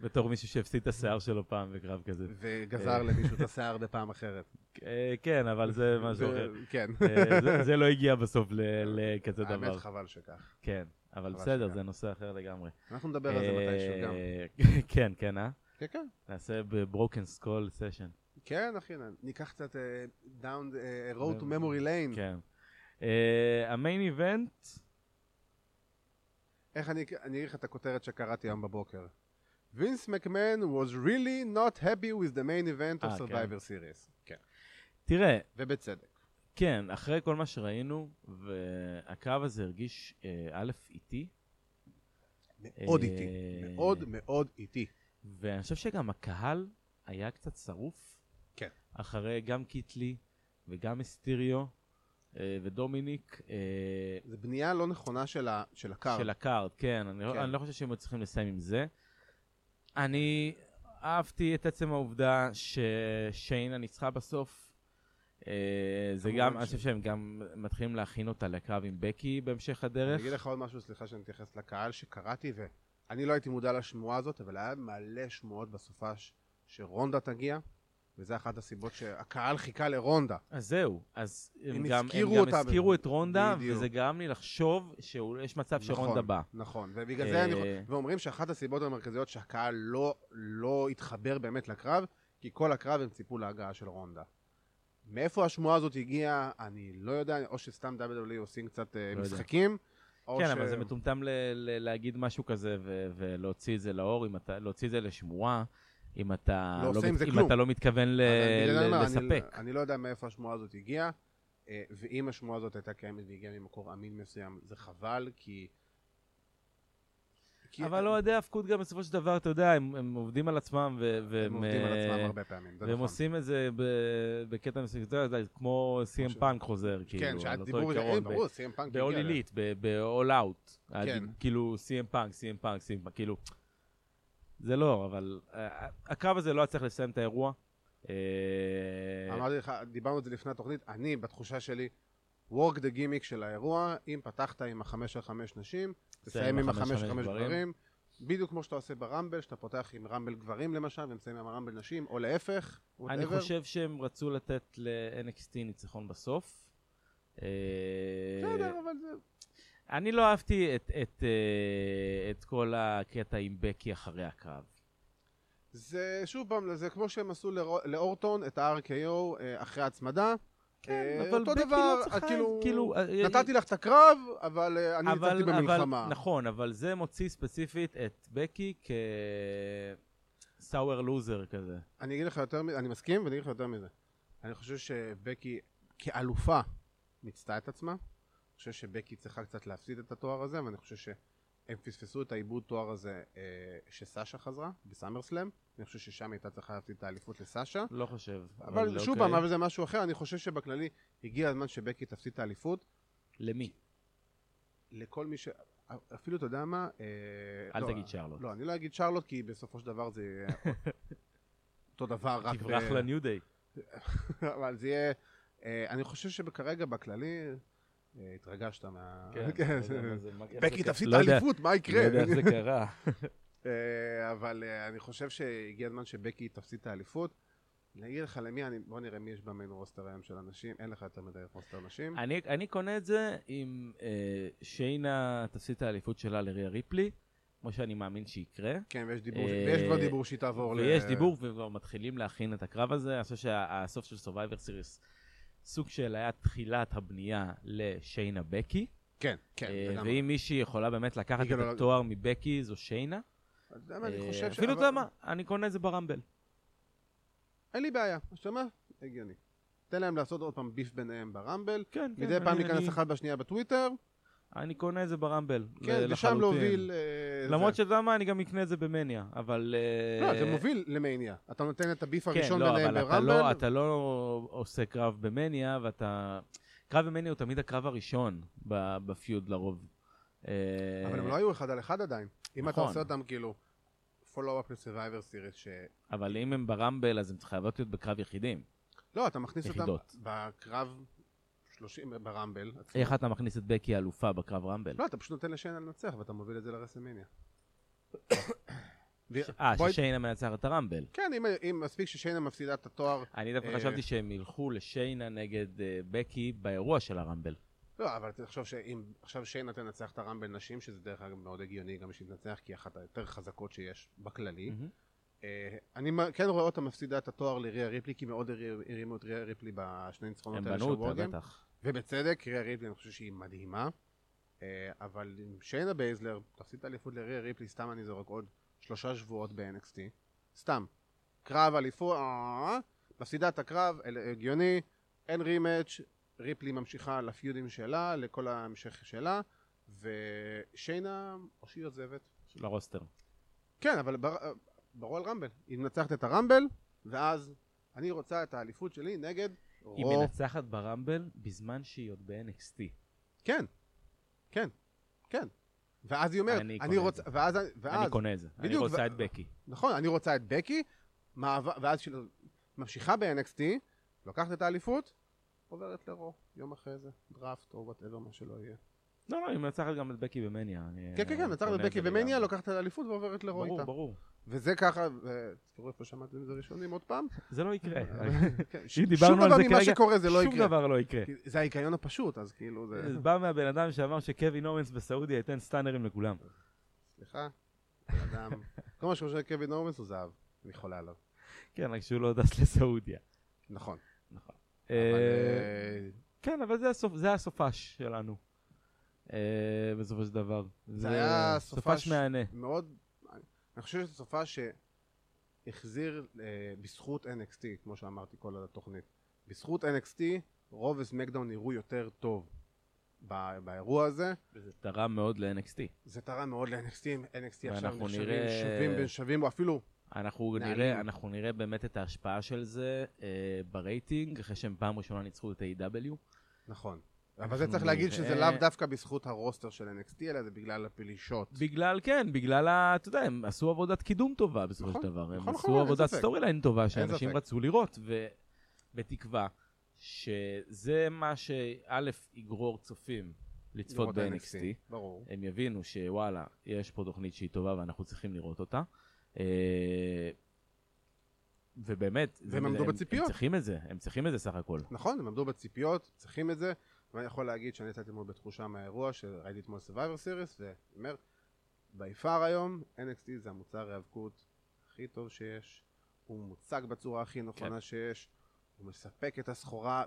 S2: בתור מישהו שהפסיד את השיער שלו פעם בקרב כזה.
S1: וגזר למישהו את השיער בפעם אחרת.
S2: אה, כן, אבל זה משהו אחר.
S1: כן.
S2: אה, זה- זה לא הגיע בסוף ל- לכזה דבר.
S1: האמת חבל שכך.
S2: כן, אבל
S1: חבל
S2: בסדר,
S1: שכך.
S2: זה נושא אחר לגמרי.
S1: אנחנו נדבר על זה מתישהו גם.
S2: אה, כן, כן, אה?
S1: כן, כן.
S2: נעשה בברוקן סקול סשן.
S1: כן, אחי, ניקח קצת אה, down, אה, road to
S2: ו-
S1: memory lane.
S2: כן. אה, המיין איבנט,
S1: איך אני אני אגיד לך את הכותרת שקראתי היום בבוקר. וינס מקמן was really not happy with the main event
S2: אה,
S1: of
S2: כן.
S1: Survivor Series. כן.
S2: תראה,
S1: ובצדק.
S2: כן, אחרי כל מה שראינו, והקרב הזה הרגיש אה, א' איטי,
S1: מאוד
S2: אה,
S1: איטי. מאוד מאוד איטי.
S2: ואני חושב שגם הקהל היה קצת שרוף.
S1: כן.
S2: אחרי גם קיטלי וגם אסטיריו, אה, ודומיניק אה,
S1: זה בנייה לא נכונה של, ה, של הקארד.
S2: של הקארד, כן, אני,
S1: כן.
S2: כן. אני לא חושב שהם היו צריכים לסיים עם זה. אני אהבתי את עצם העובדה ששיינה ניצחה בסוף. אה, זה
S1: כמובן
S2: גם, אני
S1: ש-
S2: חושב שהם גם מתחילים להכין אותה לקרב עם בקי בהמשך
S1: אני
S2: הדרך.
S1: אגיד לך עוד משהו, סליחה שאני מתייחס לקהל, שקראתי, ואני לא הייתי מודע לשמועה הזאת, אבל היה מלא שמועות בסופש שרונדה תגיע, וזו אחת הסיבות שהקהל חיכה לרונדה.
S2: אז זהו, אז הם,
S1: הם
S2: גם,
S1: הזכירו
S2: הם גם
S1: אותה
S2: הזכירו
S1: בזה.
S2: את רונדה,
S1: בדיוק.
S2: וזה גרם לי לחשוב שיש מצב שרונדה
S1: נכון,
S2: בא.
S1: נכון, ובגלל זה אני חו-
S2: אה.
S1: ואומרים שאחת הסיבות המרכזיות שהקהל לא, לא התחבר באמת לקרב, כי כל הקרב הם ציפו להגעה של רונדה. מאיפה השמועה הזאת הגיעה, אני לא יודע, או שסתם WWE עושים קצת אה,
S2: לא יודע.
S1: משחקים, או
S2: כן,
S1: ש...
S2: אבל זה מטומטם ל- ל- להגיד משהו כזה ו- ולהוציא את זה לאור, אם אתה, להוציא את זה לשמועה, אם אתה
S1: לא עושה עם
S2: מת-
S1: זה
S2: אם
S1: כלום.
S2: אתה לא מתכוון ל-
S1: אבל בגלל זה אני
S2: ל-
S1: אומר, אני,
S2: לספק.
S1: אני לא יודע מאיפה השמועה הזאת הגיעה, אה, ואם השמועה הזאת הייתה קיימת והגיעה ממקור אמין מסוים, זה חבל, כי... כי
S2: אבל לא אוהדי ההפקות גם בסופו של דבר, אתה יודע, הם הם עובדים על עצמם ו-
S1: הם
S2: והם...
S1: עובדים על
S2: אה,
S1: עצמם הרבה פעמים, זה
S2: והם
S1: נכון.
S2: עושים את זה ב- בקטע מסוים, אתה יודע, כמו סי.אם
S1: עכשיו-
S2: פאנק חוזר, כאילו,
S1: כן, שהיה
S2: על אותו
S1: דיבור, אה,
S2: עיקרון, ב-
S1: ברור, סי.אם פאנק
S2: ב-all
S1: הגיע אליהם.
S2: elite, ב-all out,
S1: כן.
S2: הדיב- כאילו סי.אם פאנק, סי.אם פאנק, סי.אם פאנק, כאילו, זה לא, אבל אה, הקרב הזה לא היה צריך לסיים את האירוע. אה,
S1: אמרתי לך, דיברנו על זה לפני התוכנית, אני, בתחושה שלי, work the gimmick של האירוע, אם פתחת עם החמש על חמש נשים, תסיים עם החמש על חמש גברים, בדיוק כמו שאתה עושה ברמבל, שאתה פותח עם רמבל גברים למשל, ומסיים עם הרמבל נשים, או להפך,
S2: אני
S1: whatever.
S2: חושב שהם רצו לתת ל-NXT ניצחון בסוף. אה,
S1: בסדר, אבל זה...
S2: אני לא אהבתי את- את, אה, את כל הקטע עם בקי אחרי הקרב.
S1: זה שוב פעם, זה כמו שהם עשו לרו- לאורטון את ה-RKO אה, אחרי ההצמדה.
S2: כן,
S1: אה,
S2: אבל
S1: אותו
S2: בקי
S1: דבר,
S2: לא
S1: את
S2: צריכה,
S1: כאילו-
S2: כאילו... אה,
S1: נתתי לך את הקרב, אבל אה, אני ניצחתי במלחמה.
S2: אבל, נכון, אבל זה מוציא ספציפית את בקי כסאואר לוזר כזה.
S1: אני אגיד לך יותר מזה, אני מסכים ואני אגיד לך יותר מזה. אני חושב שבקי כאלופה מיצתה את עצמה. אני חושב שבקי צריכה קצת להפסיד את התואר הזה, ואני חושב שהם פספסו את העיבוד תואר הזה אה, שסאשה חזרה בסאמרסלאם. אני חושב ששם היא הייתה צריכה להפסיד את האליפות לסאשה.
S2: לא חושב.
S1: אבל שוב פעם,
S2: אוקיי.
S1: אבל זה משהו אחר, אני חושב שבכללי הגיע הזמן שבקי תפסיד את האליפות.
S2: למי?
S1: לכל מי ש... אפילו, אתה יודע מה? אה,
S2: אל
S1: לא,
S2: תגיד שרלוט.
S1: לא, אני לא אגיד שרלוט, כי בסופו של דבר זה יהיה אותו דבר, רק... אה,
S2: תברח
S1: ב-
S2: לניו דיי.
S1: אבל זה יהיה... אה, אני חושב שכרגע, בכללי, אה, התרגשת מה...
S2: לא
S1: כן,
S2: יודע מה
S1: זה-
S2: זה, מה- איך זה
S1: בקי
S2: קרה.
S1: תפסיד את
S2: לא יודע-
S1: האליפות, מה יקרה?
S2: לא יודע איך זה קרה.
S1: אה, אבל אה, אני חושב שהגיע הזמן שבקי תפסיד את האליפות. אני אגיד לך למי, אני- בוא נראה מי יש במיין רוסטר היום של אנשים, אין לך יותר מדי רוסטר נשים.
S2: אני, אני קונה את זה אם אה, שיינה תפסיד את האליפות שלה לריה ריפלי, כמו שאני מאמין שיקרה.
S1: כן, ויש דיבור,
S2: אה,
S1: ויש כבר דיבור שהיא תעבור ל...
S2: ויש דיבור וכבר מתחילים להכין את הקרב הזה. אני חושב שהסוף של סורווייבר סיריס סוג של היה תחילת הבנייה לשיינה בקי.
S1: כן, כן,
S2: אה,
S1: לגמרי.
S2: ואם מישהי יכולה באמת לקחת
S1: היא
S2: את
S1: גם לא-
S2: התואר מבקי זו שיינה.
S1: אתה יודע מה, אני
S2: אה,
S1: חושב ש-
S2: אפילו אתה
S1: אבל-
S2: יודע מה, אני קונה את זה ברמבל.
S1: אין לי בעיה, אתה שומע? הגיוני. תן להם לעשות עוד פעם ביף ביניהם ברמבל,
S2: כן, כן.
S1: מדי פעם
S2: אני-
S1: להיכנס
S2: אני-
S1: אחת בשנייה בטוויטר,
S2: אני קונה את זה ברמבל.
S1: כן,
S2: ל-
S1: ושם
S2: לחלוטין.
S1: להוביל... אה,
S2: למרות
S1: זה.
S2: שאתה יודע מה, אני גם אקנה את זה במניה, אבל... אה,
S1: לא, זה מוביל למאניה. אתה נותן את הביף
S2: כן,
S1: הראשון
S2: לא,
S1: ביניהם
S2: אבל אתה לא,
S1: ברמבל,
S2: אתה לא עושה קרב במניה, ואתה... קרב במניה הוא תמיד הקרב הראשון ב- בפיוד לרוב. אה,
S1: אבל הם לא היו אחד על אחד עדיין. אם אתה
S2: נכון.
S1: עושה אותם כאילו... follow-up ל-survivor series, ש...
S2: אבל אם הם ברמבל, אז הם חייבות להיות בקרב יחידים.
S1: לא, אתה מכניס אותם
S2: יחידות.
S1: בקרב 30 ברמבל. עצמו.
S2: איך אתה מכניס את בקי אלופה בקרב רמבל?
S1: כן. לא, אתה פשוט נותן לשיינה לנצח ואתה מוביל את זה לרסלמניה. ו-
S2: אה,
S1: בואי-
S2: ששיינה מנצחת את הרמבל.
S1: כן, אם, אם מספיק ששיינה מפסידה את התואר,
S2: אני דווקא
S1: אה,
S2: חשבתי שהם ילכו לשיינה נגד אה, בקי באירוע של הרמבל.
S1: לא, אבל תחשוב שאם עכשיו שיינה תנצח את הרמבל נשים, שזה דרך אגב מאוד הגיוני גם שהיא תנצח, כי היא אחת היותר חזקות שיש בכללי.
S2: מהמם.
S1: אה, אני מ- כן רואה אותה מפסידה את התואר לריה ריפלי, כי מאוד הרי- הרימו את ריה ריפלי בשני
S2: הם
S1: ניצחונות האלה של
S2: בנו אותה,
S1: וורגן.
S2: בטח.
S1: ובצדק, ריה ריפלי אני חושב שהיא מדהימה. אה, אבל אם שיינה בייזלר תפסיד את האליפות לריה ריפלי, סתם אני זורק עוד שלושה שבועות ב-NXT. סתם. קרב אליפות, אה, מפסידה את הקרב, אל- הגיוני, אין רימאץ', ריפלי ממשיכה לפיודים שלה, לכל ההמשך שלה, ושיינה, או שהיא עוזבת.
S2: לרוסטר.
S1: כן, אבל בר... ברול רמבל. היא מנצחת את הרמבל, ואז אני רוצה את האליפות שלי נגד
S2: היא
S1: רו-
S2: מנצחת ברמבל בזמן שהיא עוד ב-NXT.
S1: כן, כן, כן. ואז היא אומרת,
S2: אני
S1: אני,
S2: קונה את
S1: רוצה,
S2: זה.
S1: ואז,
S2: אני
S1: ואז,
S2: קונה את זה. אני
S1: בדיוק,
S2: רוצה
S1: ו-
S2: את בקי.
S1: נכון, אני רוצה את בקי, מעבר, ואז שהיא ממשיכה ב-NXT, לוקחת את האליפות, עוברת לרו, יום אחרי זה, דראפט או וואטאבר, מה שלא יהיה.
S2: לא, לא, היא מנצחת גם את בקי במניה. אני,
S1: כן, כן,
S2: אה,
S1: כן, נצחת את
S2: קונה
S1: בקי
S2: זה
S1: ומניה,
S2: לגמרי.
S1: לוקחת את האליפות ועוברת לרו
S2: ברור,
S1: איתה.
S2: ברור.
S1: וזה ככה, ו- תראו איפה שמעתם את זה ראשונים עוד פעם.
S2: זה לא יקרה.
S1: כן, ש-
S2: אם דיברנו על זה
S1: שום דבר ממה
S2: כרגע,
S1: שקורה זה לא
S2: שום
S1: יקרה.
S2: דבר אה. לא יקרה.
S1: כי זה ההיגיון הפשוט, אז כאילו זה...
S2: זה בא מהבן אדם שאמר שקווין אורנס בסעודיה ייתן סטאנרים לכולם.
S1: סליחה, בן אדם. כל מה שקורה לקווין אורמס הוא זהב, אני חולה עליו.
S2: כן, רק שהוא לא טס לסעודיה.
S1: נכון.
S2: אה,
S1: אבל, אה,
S2: כן, אבל זה הסופ- זה הסופש שלנו. אה, בסופו של דבר. זה
S1: היה סופש-
S2: סופש מהנה.
S1: מאוד, אני חושב שזו תופעה שהחזיר אה, בזכות NXT, כמו שאמרתי כל התוכנית. בזכות NXT, רוב וסמקדאון נראו יותר טוב בא- באירוע הזה.
S2: וזה תרם מאוד ל-NXT.
S1: זה תרם מאוד ל-NXT, NXT עכשיו
S2: ואנחנו
S1: נחשבים
S2: נראה-
S1: שווים בין שווים, או אפילו
S2: אנחנו
S1: נעלים.
S2: נראה, אנחנו נראה באמת את ההשפעה של זה אה, ברייטינג, אחרי שהם פעם ראשונה ניצחו את ה-AW.
S1: נכון. אבל
S2: אנחנו
S1: זה צריך להגיד שזה
S2: נראה-
S1: לאו דווקא בזכות הרוסטר של NXT, אלא זה בגלל הפלישות.
S2: בגלל, כן, בגלל, ה- אתה יודע, הם עשו עבודת קידום טובה בסופו
S1: נכון,
S2: של דבר. הם
S1: נכון,
S2: עשו
S1: נכון, אין
S2: עבודת
S1: ספק.
S2: סטורי ליין טובה שאנשים
S1: ספק.
S2: רצו לראות, ובתקווה שזה מה שא' יגרור צופים לצפות
S1: לראות
S2: ב-NXT.
S1: ברור.
S2: הם יבינו שוואלה, יש פה תוכנית שהיא טובה ואנחנו צריכים לראות אותה. אה, ובאמת,
S1: והם עמדו בציפיות.
S2: הם צריכים את זה, הם צריכים את זה סך הכל.
S1: נכון, הם עמדו בציפיות, צריכים את זה, ואני יכול להגיד שאני יצאתי מאוד בתחושה מהאירוע, שראיתי אתמול Survivor Series, ואני אומר, ביפר היום, NXT זה המוצר ההיאבקות הכי טוב שיש, הוא מוצג בצורה הכי נכונה כן. שיש, הוא מספק את הסחורה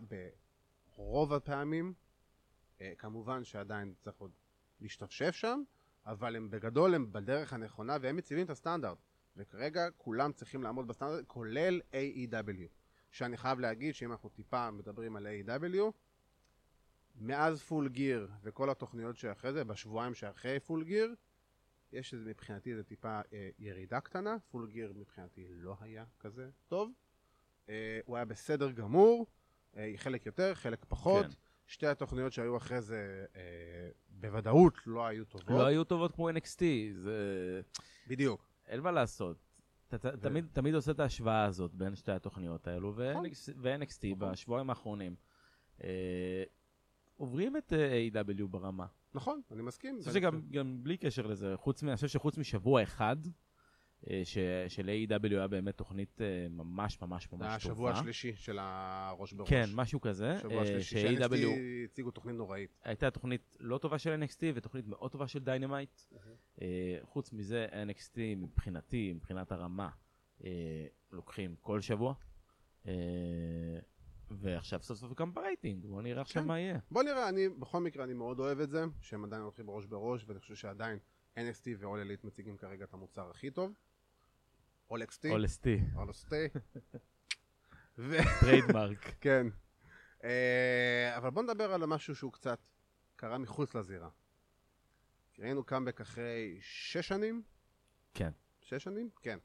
S1: ברוב הפעמים, אה, כמובן שעדיין צריך עוד להשתפשף שם, אבל הם בגדול הם בדרך הנכונה, והם מציבים את הסטנדרט, וכרגע כולם צריכים לעמוד בסטנדרט, כולל AEW. שאני חייב להגיד שאם אנחנו טיפה מדברים על A.W. מאז פול גיר וכל התוכניות שאחרי זה, בשבועיים שאחרי פול גיר, יש איזה מבחינתי איזה טיפה אה, ירידה קטנה, פול גיר מבחינתי לא היה כזה טוב, אה, הוא היה בסדר גמור, אה, חלק יותר, חלק פחות,
S2: כן.
S1: כן. שתי התוכניות שהיו אחרי זה אה, בוודאות לא היו טובות,
S2: לא היו טובות כמו NXT, זה...
S1: בדיוק,
S2: אין מה לעשות. אתה ת- תמיד- תמיד עושה את ההשוואה הזאת בין שתי התוכניות האלו,
S1: נכון.
S2: ו-NXT
S1: נכון.
S2: בשבועיים האחרונים. אה, עוברים את אה, A.W. ברמה.
S1: נכון, אני מסכים,
S2: אני חושב
S1: ואני
S2: שגם גם בלי קשר לזה, חוץ מ... אני חושב שחוץ משבוע אחד, אה, ש- של A.W. היה באמת תוכנית אה, ממש ממש
S1: זה היה
S2: ממש
S1: השבוע
S2: טובה.
S1: השלישי של הראש בראש,
S2: כן, משהו כזה.
S1: שבוע
S2: אה,
S1: שלישי,
S2: ש-AEW
S1: ש-NXT הציגו תוכנית נוראית.
S2: הייתה תוכנית לא טובה של NXT ותוכנית מאוד טובה של דיינמייט.
S1: אהה.
S2: אה, חוץ מזה, NXT מבחינתי, מבחינת הרמה, אה, לוקחים כל שבוע. אה, ועכשיו סוף סוף גם ברייטינג, בוא נראה עכשיו
S1: כן.
S2: מה יהיה.
S1: בוא נראה, אני בכל מקרה אני מאוד אוהב את זה, שהם עדיין הולכים ראש בראש, ואני חושב שעדיין NXT ו-all elite מציגים כרגע את המוצר הכי טוב. all XT,
S2: אולסטי,
S1: all ST. ו...
S2: טריידמרק.
S1: כן. אה, אבל בוא נדבר על משהו שהוא קצת קרה מחוץ לזירה. ראינו קאמבק אחרי שש שנים?
S2: כן.
S1: שש שנים? כן.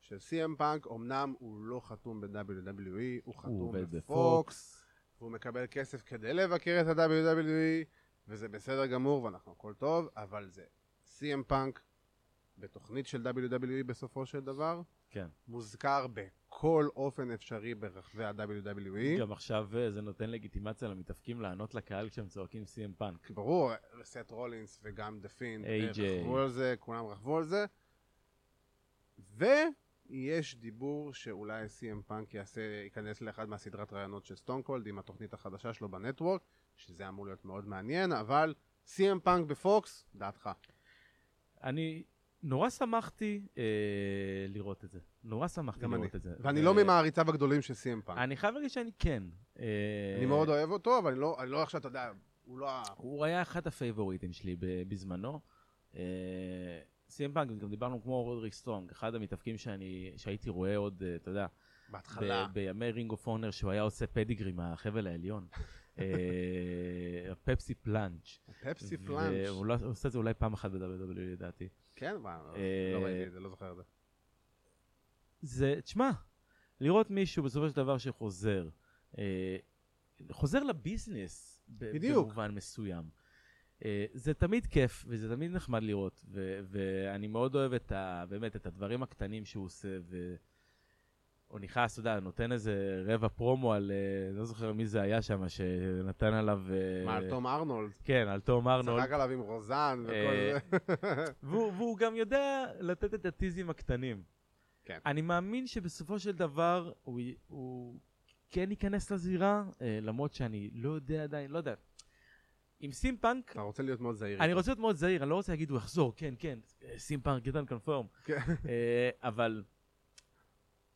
S1: של CM פאנק, אמנם הוא לא חתום ב-WWE, הוא
S2: הוא
S1: חתום
S2: עובד
S1: בפוקס.
S2: בפוקס.
S1: והוא מקבל כסף כדי לבקר את ה-WWE, וזה בסדר גמור, ואנחנו הכל טוב, אבל זה CM פאנק בתוכנית של WWE בסופו של דבר,
S2: כן.
S1: מוזכר בכל אופן אפשרי ברחבי E. ה-WWE.
S2: גם עכשיו אה, זה נותן לגיטימציה למתאפקים לענות לקהל כשהם צועקים סי.אם פאנק.
S1: כי ברור, סט רולינס וגם דה פינד,
S2: AJ.
S1: רכבו על זה, כולם רכבו על זה. ויש דיבור שאולי CM פאנק יעשה, ייכנס לאחד מהסדרת רעיונות של סטון קולד עם התוכנית החדשה שלו בנטוורק, שזה אמור להיות מאוד מעניין, אבל CM פאנק בפוקס, דעתך.
S2: אני נורא שמחתי אה, לראות את זה. נורא שמחתי
S1: גם
S2: לראות את זה.
S1: ואני
S2: ו-
S1: לא ממעריציו הגדולים של CM פאנק.
S2: אני חייב להגיד שאני כן. אה,
S1: אני מאוד אוהב אותו, אבל אני לא, אני לא עכשיו, אתה יודע, הוא לא ה...
S2: הוא היה אחד הפייבוריטים שלי ב- בזמנו. סיים פאנק, גם דיברנו כמו רודריק סטרונג, אחד המתאבקים שאני, שהייתי רואה עוד, אה, אתה יודע,
S1: בהתחלה.
S2: ב- בימי רינג אוף אונר, שהוא היה עושה פדיגרי מהחבל העליון. אה, הפפסי פלאנץ'.
S1: פפסי פלאנץ'.
S2: והוא לא- הוא עושה את זה אולי פעם אחת ב-WWE לדעתי.
S1: כן, מה,
S2: אה,
S1: לא ראיתי את זה, לא זוכר את זה.
S2: זה, תשמע, לראות מישהו בסופו של דבר שחוזר אה, חוזר לביזנס ב-
S1: בדיוק.
S2: במובן מסוים. אה, זה תמיד כיף וזה תמיד נחמד לראות, ו- ואני מאוד אוהב את ה- באמת את הדברים הקטנים שהוא עושה, ו- הוא נכנס, אתה יודע, נותן איזה רבע פרומו על, אה, לא זוכר מי זה היה שם, שנתן עליו... אה,
S1: מה, על תום ארנולד?
S2: כן, על תום ארנולד.
S1: צחק עליו עם רוזן וכל
S2: אה,
S1: זה.
S2: והוא, והוא גם יודע לתת את הטיזים הקטנים.
S1: כן.
S2: אני מאמין שבסופו של דבר הוא, י- הוא כן ייכנס לזירה, אה, למרות שאני לא יודע עדיין, לא יודע. עם סימפאנק,
S1: אתה רוצה להיות מאוד זהיר.
S2: אני רוצה להיות מאוד זהיר, אני לא רוצה להגיד הוא יחזור, כן, כן, אה, סימפאנק, גדעון קונפורם.
S1: כן.
S2: אה, אבל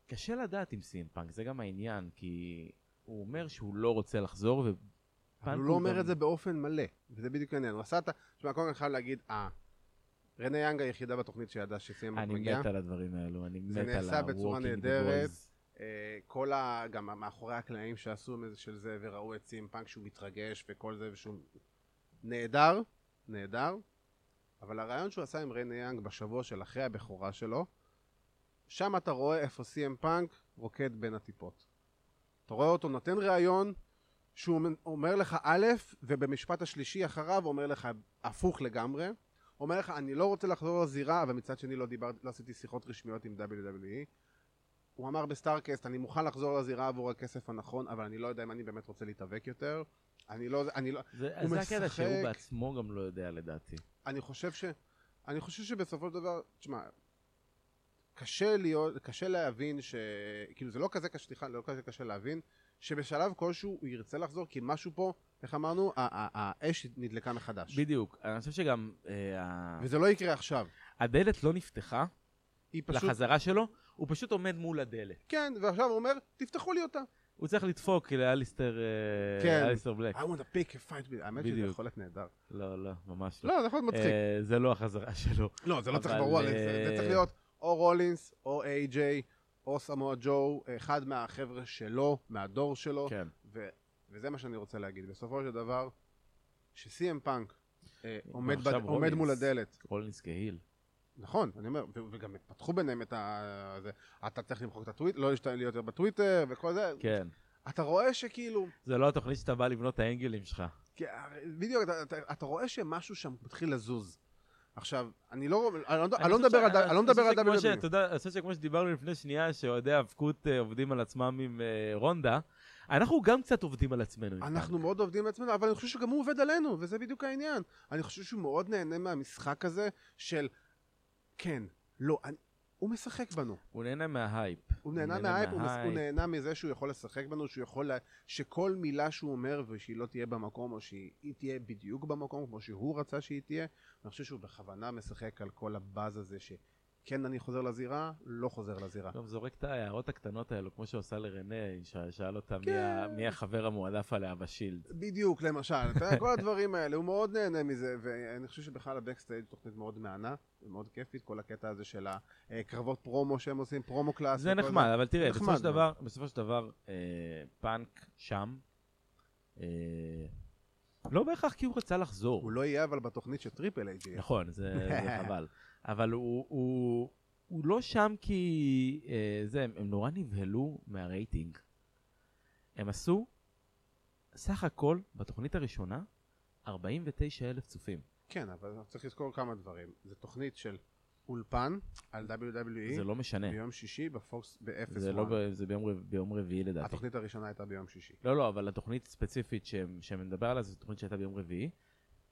S2: קשה לדעת עם סימפאנק, זה גם העניין, כי הוא אומר שהוא לא רוצה לחזור, ופאנק
S1: אבל הוא לא אומר את זה באופן מלא, וזה בדיוק העניין. הוא עשה את ה... תשמע, קודם כל אני חייב להגיד, אה, רנה יאנג היחידה בתוכנית שידעה שסיים
S2: אני
S1: מגיע.
S2: מת על הדברים האלו, אני מת
S1: זה
S2: על ה-working
S1: נעשה בצורה
S2: boys.
S1: נהדרת. אה, כל ה... גם מאחורי הקלעים שעשו מזה של זה, וראו את סימפאנק שהוא מתרגש וכל זה, ושהוא... נהדר, נהדר, אבל הרעיון שהוא עשה עם ריינה יאנג בשבוע של אחרי הבכורה שלו, שם אתה רואה איפה סי.אם.פאנק רוקד בין הטיפות. אתה רואה אותו נותן ראיון שהוא אומר לך א', ובמשפט השלישי אחריו אומר לך הפוך לגמרי. אומר לך, אני לא רוצה לחזור לזירה, אבל מצד שני לא, דיבר, לא עשיתי שיחות רשמיות עם E. WWE. הוא אמר בסטארקסט, אני מוכן לחזור לזירה עבור הכסף הנכון, אבל אני לא יודע אם אני באמת רוצה להתאבק יותר. אני לא, אני לא,
S2: זה,
S1: הוא
S2: זה הקטע שהוא
S1: משחק.
S2: בעצמו גם לא יודע לדעתי.
S1: אני חושב ש... אני חושב שבסופו של דבר, תשמע, קשה להיות, קשה להבין ש... כאילו זה לא כזה קשה, סליחה, לא כזה קשה להבין שבשלב כלשהו הוא ירצה לחזור כי משהו פה, איך אמרנו, ה- ה- ה- האש נדלקה מחדש.
S2: בדיוק, אני חושב שגם אה, ה-
S1: וזה לא יקרה עכשיו.
S2: הדלת לא נפתחה
S1: היא פשוט...
S2: לחזרה שלו, הוא פשוט עומד מול הדלת.
S1: כן, ועכשיו הוא אומר, תפתחו לי אותה.
S2: הוא צריך לדפוק לאליסטר אה,
S1: כן.
S2: אליסטר בלק.
S1: I want to pick a fight with... האמת שזה
S2: בדיוק.
S1: יכול להיות נהדר.
S2: לא, לא, ממש לא.
S1: לא, זה יכול להיות מצחיק.
S2: אה, זה לא החזרה שלו.
S1: לא, זה לא צריך
S2: אבל,
S1: ברור, זה זה
S2: אה,
S1: צריך להיות או רולינס, או איי-ג'יי, או סמואל ג'ו, אחד מהחבר'ה שלו, מהדור שלו.
S2: כן.
S1: ו, וזה מה שאני רוצה להגיד. בסופו של דבר, שסי.אם פאנק אה, עומד, בד,
S2: עכשיו
S1: עומד
S2: רולינס.
S1: מול הדלת,
S2: רולינס קהיל.
S1: נכון, אני אומר, ו- וגם פתחו ביניהם את ה... זה, אתה צריך למחוק את הטוויטר, לא להשתעל יותר בטוויטר וכל זה,
S2: כן.
S1: אתה רואה שכאילו,
S2: זה לא התוכנית שאתה בא לבנות את האנגלים שלך.
S1: כי- בדיוק, אתה, אתה, אתה רואה שמשהו שם מתחיל לזוז. עכשיו, אני לא, אני לא, אני לא
S2: חושב
S1: מדבר על
S2: ש-
S1: ד- אני לא מדבר על
S2: אני חושב שכמו ש-
S1: WWE.
S2: אתה יודע, אני חושב שכמו שדיברנו לפני שנייה, שאוהדי האבקות אה, עובדים על עצמם עם אה, רונדה, אנחנו גם קצת עובדים על עצמנו. עם
S1: אנחנו מאוד עובדים על עצמנו, אבל אני חושב שגם הוא עובד עלינו, וזה בדיוק העניין. אני חושב שהוא מאוד נהנה מהמשחק הזה של כן, לא, אני, הוא משחק בנו.
S2: הוא נהנה מההייפ.
S1: הוא נהנה מההייפ, הוא, מס- הוא נהנה מזה שהוא יכול לשחק בנו, שהוא יכול, לה... שכל מילה שהוא אומר ושהיא לא תהיה במקום, או שהיא תהיה בדיוק במקום, כמו שהוא רצה שהיא תהיה, אני חושב שהוא בכוונה משחק על כל הבאז הזה שכן אני חוזר לזירה, לא חוזר לזירה.
S2: גם זורק את ההערות הקטנות האלו, כמו שעושה לרנה, היא ש- שאל אותה מי
S1: כן.
S2: ה- מי החבר המועדף עליה בשילד.
S1: בדיוק, למשל, אתה יודע, כל הדברים האלה, הוא מאוד נהנה מזה, ואני חושב שבכלל הבקסטייג' תוכנית מאוד מהנה, ומאוד כיפית, כל הקטע הזה של הקרבות פרומו שהם עושים, פרומו קלאס.
S2: זה
S1: וכל
S2: נחמד, אבל תראה,
S1: נחמד אה.
S2: בסופו של
S1: מאוד.
S2: דבר, בסופו של דבר, אה, פאנק שם, אה, לא בהכרח כי הוא רצה לחזור.
S1: הוא לא יהיה אבל בתוכנית של טריפל איי ג'י.
S2: נכון, זה זה חבל. אבל הוא- הוא הוא לא שם כי... אה, זה, הם הם נורא נבהלו מהרייטינג. הם עשו, סך הכל, בתוכנית הראשונה, 49 אלף צופים.
S1: כן, אבל צריך לזכור כמה דברים. זו תוכנית של אולפן על
S2: זה
S1: WWE
S2: לא משנה.
S1: ביום שישי בפוקס
S2: זה לא,
S1: ב-0-1.
S2: ב- זה ביום, רב- ביום רביעי לדעתי.
S1: התוכנית הראשונה הייתה ביום שישי.
S2: לא, לא, אבל התוכנית ספציפית שהם- שאני מדבר עליה זו תוכנית שהייתה ביום רביעי,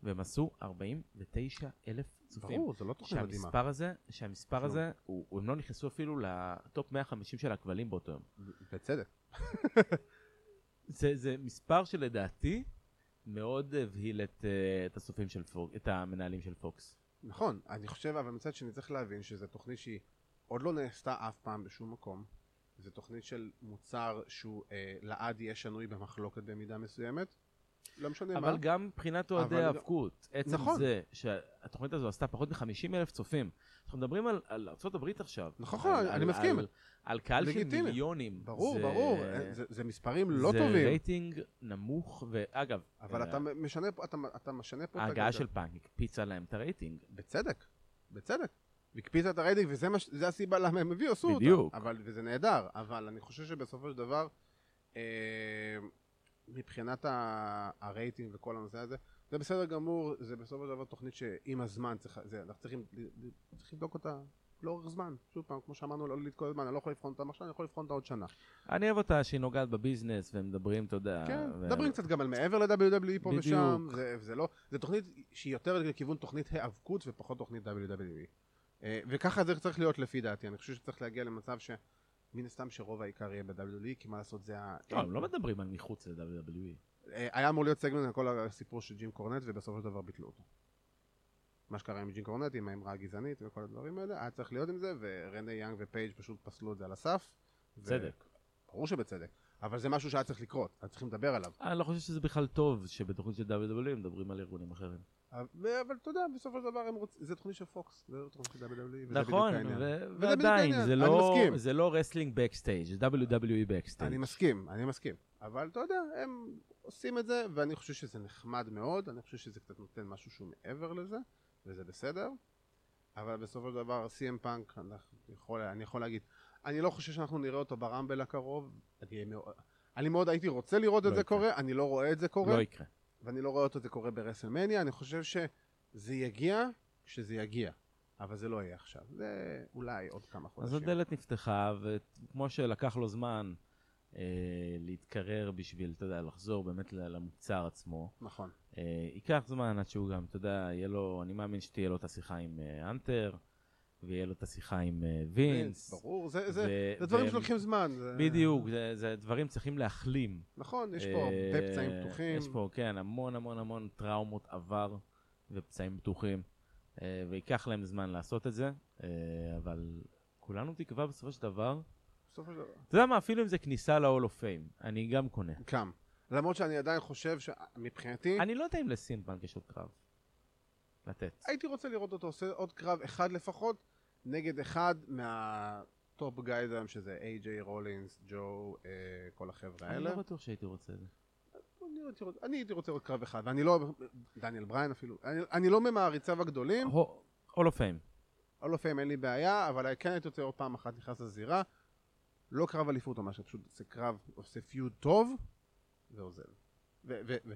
S2: והם עשו 49 אלף צופים.
S1: ברור, זו לא תוכנית מדהימה.
S2: שהמספר הזה, שהמספר
S1: כלום.
S2: הזה, הוא- הוא- הם לא נכנסו אפילו לטופ 150 של הכבלים באותו יום.
S1: בצדק.
S2: זה, זה מספר שלדעתי מאוד הבהיל את, אה, את הסופים של פוקס, את המנהלים של פוקס.
S1: נכון, אני חושב, אבל מצד שני צריך להבין שזו תוכנית שהיא עוד לא נעשתה אף פעם בשום מקום. זו תוכנית של מוצר שהוא אה, לעד יהיה שנוי במחלוקת במידה מסוימת. לא משנה מה.
S2: אבל גם מבחינת אוהדי
S1: אבל-
S2: האבקות, עצם
S1: נכון.
S2: זה שהתוכנית הזו עשתה פחות מ-50 אלף צופים. אנחנו מדברים על, על ארה"ב עכשיו.
S1: נכון,
S2: על-
S1: אני
S2: על-
S1: מסכים.
S2: על, על קהל של
S1: לגיטימי.
S2: מיליונים.
S1: ברור,
S2: זה-
S1: ברור, אה, זה, זה מספרים לא
S2: זה
S1: טובים,
S2: רייטינג נמוך, ואגב,
S1: אבל
S2: אה,
S1: אתה משנה פה, אתה, אתה משנה פה את
S2: ההגעה
S1: הגלגל.
S2: של פאנק הקפיצה להם את הרייטינג.
S1: בצדק, בצדק. והקפיצה את הרייטינג, וזה מה, ש- זה הסיבה למה הם הביאו, עשו אותה.
S2: בדיוק.
S1: אבל, וזה נהדר, אבל אני חושב שבסופו של דבר, אה, מבחינת ה- הרייטינג וכל הנושא הזה, זה בסדר גמור, זה בסופו של דבר תוכנית שעם הזמן, צריך, זה, אנחנו צריכים ל- ל- צריך לבדוק אותה לאורך זמן, שוב פעם, כמו שאמרנו, לא להתקוד זמן, אני לא יכול לבחון אותה עכשיו, אני יכול לבחון אותה עוד שנה.
S2: אני אוהב אותה שהיא נוגעת בביזנס, והם מדברים, אתה יודע.
S1: כן,
S2: ו-
S1: מדברים קצת גם על מעבר ל-WWE פה
S2: בדיוק.
S1: ושם, זה, זה לא, זה תוכנית שהיא יותר לכיוון תוכנית היאבקות ופחות תוכנית WWE. אה, וככה זה צריך להיות לפי דעתי, אני חושב שצריך להגיע למצב שמן הסתם שרוב העיקר יהיה ב-WWE, כי מה לעשות זה ה...
S2: לא, הם לא מדברים על מחוץ E. ל-WWE.
S1: אה, היה אמור להיות סגמנט על כל הסיפור של ג'ים קורנט ובסופו של דבר ביטלו אותו. מה שקרה עם ג'ים קורנט, עם האמרה הגזענית וכל הדברים האלה, היה צריך להיות עם זה, ורנדי יאנג ופייג' פשוט פסלו את זה על הסף. ו-
S2: צדק.
S1: ברור שבצדק, אבל זה משהו שהיה צריך לקרות, היה צריכים לדבר עליו.
S2: אני לא חושב שזה בכלל טוב שבתוכנית של WWE מדברים על ארגונים אחרים.
S1: אבל אבל אתה יודע, בסופו של דבר הם רוצים, זה תוכנית של פוקס, זה לא תוכנית של WWE. וזה
S2: נכון,
S1: בדיוק העניין.
S2: ו-
S1: בדיוק
S2: ועדיין,
S1: העניין,
S2: זה
S1: אני
S2: לא-
S1: מסכים.
S2: זה לא רסלינג בקסטייג', זה WWE
S1: אני
S2: בקסטייג'.
S1: מסכים, אני מסכים. אבל אתה יודע, הם עושים את זה, ואני חושב שזה נחמד מאוד, אני חושב שזה קצת נותן משהו שהוא מעבר לזה, וזה בסדר. אבל בסופו של דבר, CM פאנק, אנחנו- יכול- אני יכול להגיד, אני לא חושב שאנחנו נראה אותו ברמבל הקרוב, אני אהיה מאוד- אני מאוד הייתי רוצה לראות
S2: לא
S1: את זה
S2: יקרה.
S1: קורה, אני לא רואה את זה קורה.
S2: לא יקרה.
S1: ואני לא רואה אותו זה קורה ברסלמניה, אני חושב שזה יגיע כשזה יגיע, אבל זה לא יהיה עכשיו, זה אולי עוד כמה
S2: אז
S1: חודשים.
S2: הדלת נפתחה, וכמו שלקח לו זמן אה, להתקרר בשביל, אתה יודע, לחזור באמת ל- למוצר עצמו,
S1: נכון.
S2: אה, ייקח זמן עד שהוא גם, אתה יודע, יהיה לו, אני מאמין שתהיה לו את השיחה עם אה, אנטר, ויהיה לו את השיחה עם אה, וינס.
S1: ברור, זה, זה,
S2: ו-
S1: זה דברים
S2: והם-
S1: שלוקחים זמן. זה-
S2: בדיוק, זה- זה דברים צריכים להחלים.
S1: נכון, יש פה
S2: אה,
S1: הרבה פצעים פתוחים.
S2: יש פה, כן, המון המון המון טראומות עבר ופצעים פתוחים, אה, וייקח להם זמן לעשות את זה, אה, אבל כולנו תקווה בסופו של דבר.
S1: בסופו של דבר.
S2: אתה יודע מה, אפילו אם זה כניסה ל-all of fame, אני גם קונה.
S1: גם. למרות שאני עדיין חושב שמבחינתי,
S2: אני לא יודע אם לסינבנק יש עוד קרב. לתת.
S1: הייתי רוצה לראות אותו עושה עוד קרב אחד לפחות, נגד אחד מהטופ גייז היום, שזה איי-ג'יי רולינס, ג'ו, אה, כל החבר'ה
S2: אני
S1: האלה.
S2: לא בטוח שהייתי רוצה את זה.
S1: אני הייתי רוצה- אני הייתי רוצה עוד קרב אחד, ואני לא... דניאל בריין אפילו. אני- אני לא ממעריציו הגדולים,
S2: הו- all of fame.
S1: אול אוף פיים אין לי בעיה, אבל כן הייתי רוצה עוד פעם אחת נכנס לזירה. לא קרב אליפות או משהו, פשוט זה קרב, עושה פיוד טוב, ועוזב. ו- ו- ו-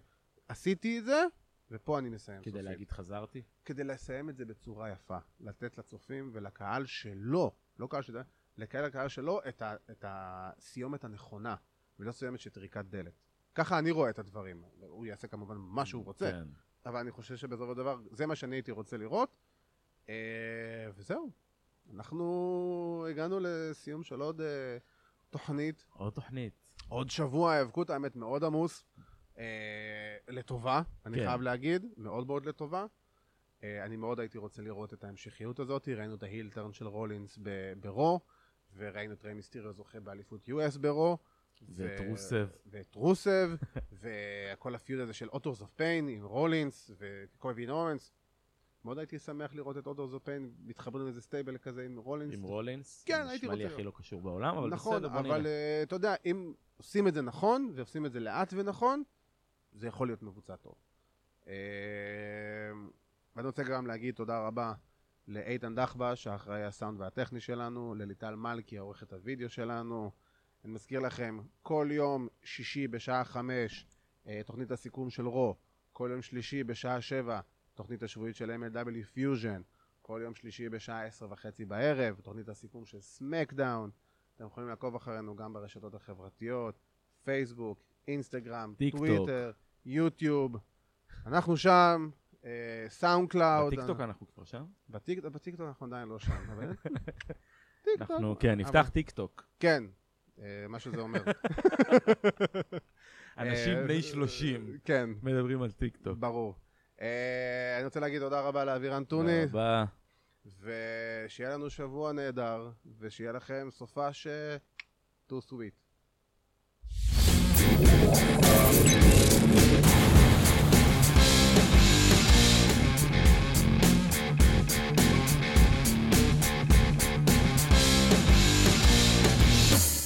S1: עשיתי את זה, ופה אני מסיים.
S2: כדי
S1: סופית.
S2: להגיד חזרתי.
S1: כדי לסיים את זה בצורה יפה. לתת לצופים ולקהל שלו, לא קהל שלו, לקהל הקהל שלו את, ה, את הסיומת הנכונה, ולא סיומת של טריקת דלת. ככה אני רואה את הדברים. הוא יעשה כמובן מה שהוא רוצה,
S2: כן.
S1: אבל אני חושב שבסופו של דבר זה מה שאני הייתי רוצה לראות. אה, וזהו, אנחנו הגענו לסיום של עוד אה, תוכנית,
S2: עוד תוכנית.
S1: עוד שבוע האבקות, האמת מאוד עמוס, אה, לטובה, אני
S2: כן.
S1: חייב להגיד, מאוד מאוד לטובה. אה, אני מאוד הייתי רוצה לראות את ההמשכיות הזאת, ראינו את ההילטרן של רולינס ב- ברו, וראינו את ריי מיסטיריו זוכה באליפות US ברו.
S2: ואת
S1: ו-
S2: רוסב.
S1: ואת רוסב, וכל הפיוד הזה של אוטורס אוף פיין עם רולינס וקובין אורנס. מאוד הייתי שמח לראות את אוטורס אוף פיין מתחברים לאיזה סטייבל כזה עם רולינס.
S2: עם רולינס.
S1: כן, הייתי
S2: נשמע לי
S1: רוצה
S2: הכי לא קשור בעולם, אבל
S1: נכון,
S2: בסדר, בוא נראה.
S1: אבל אה, אתה יודע, אם עושים את זה נכון, ועושים את זה לאט ונכון, זה יכול להיות מבוצע טוב. אה, ואני רוצה גם להגיד תודה רבה לאיתן דחבש, האחראי הסאונד והטכני שלנו, לליטל מלכי, העורכת הוידאו שלנו. אני מזכיר לכם, כל יום שישי בשעה חמש, אה, תוכנית הסיכום של רו, כל יום שלישי בשעה שבע, תוכנית השבועית של MLW פיוז'ן, כל יום שלישי בשעה עשר וחצי בערב, תוכנית הסיכום של סמקדאון. אתם יכולים לעקוב אחרינו גם ברשתות החברתיות, פייסבוק, אינסטגרם,
S2: טיקטוק.
S1: טוויטר, יוטיוב. אנחנו שם, אה, סאונד קלאוד.
S2: בטיקטוק אנחנו כבר שם?
S1: בטיקטוק, בטיקטוק אנחנו עדיין לא שם, אבל... טיקטוק.
S2: אנחנו, כן, נפתח
S1: אבל-
S2: טיקטוק.
S1: כן, אה, מה שזה אומר.
S2: אנשים
S1: אה,
S2: בני 30
S1: כן,
S2: מדברים על טיקטוק.
S1: ברור. אה, אני רוצה להגיד תודה רבה לאבירן טוני,
S2: תודה רבה.
S1: ושיהיה לנו שבוע נהדר, ושיהיה לכם סופה ש... too sweet.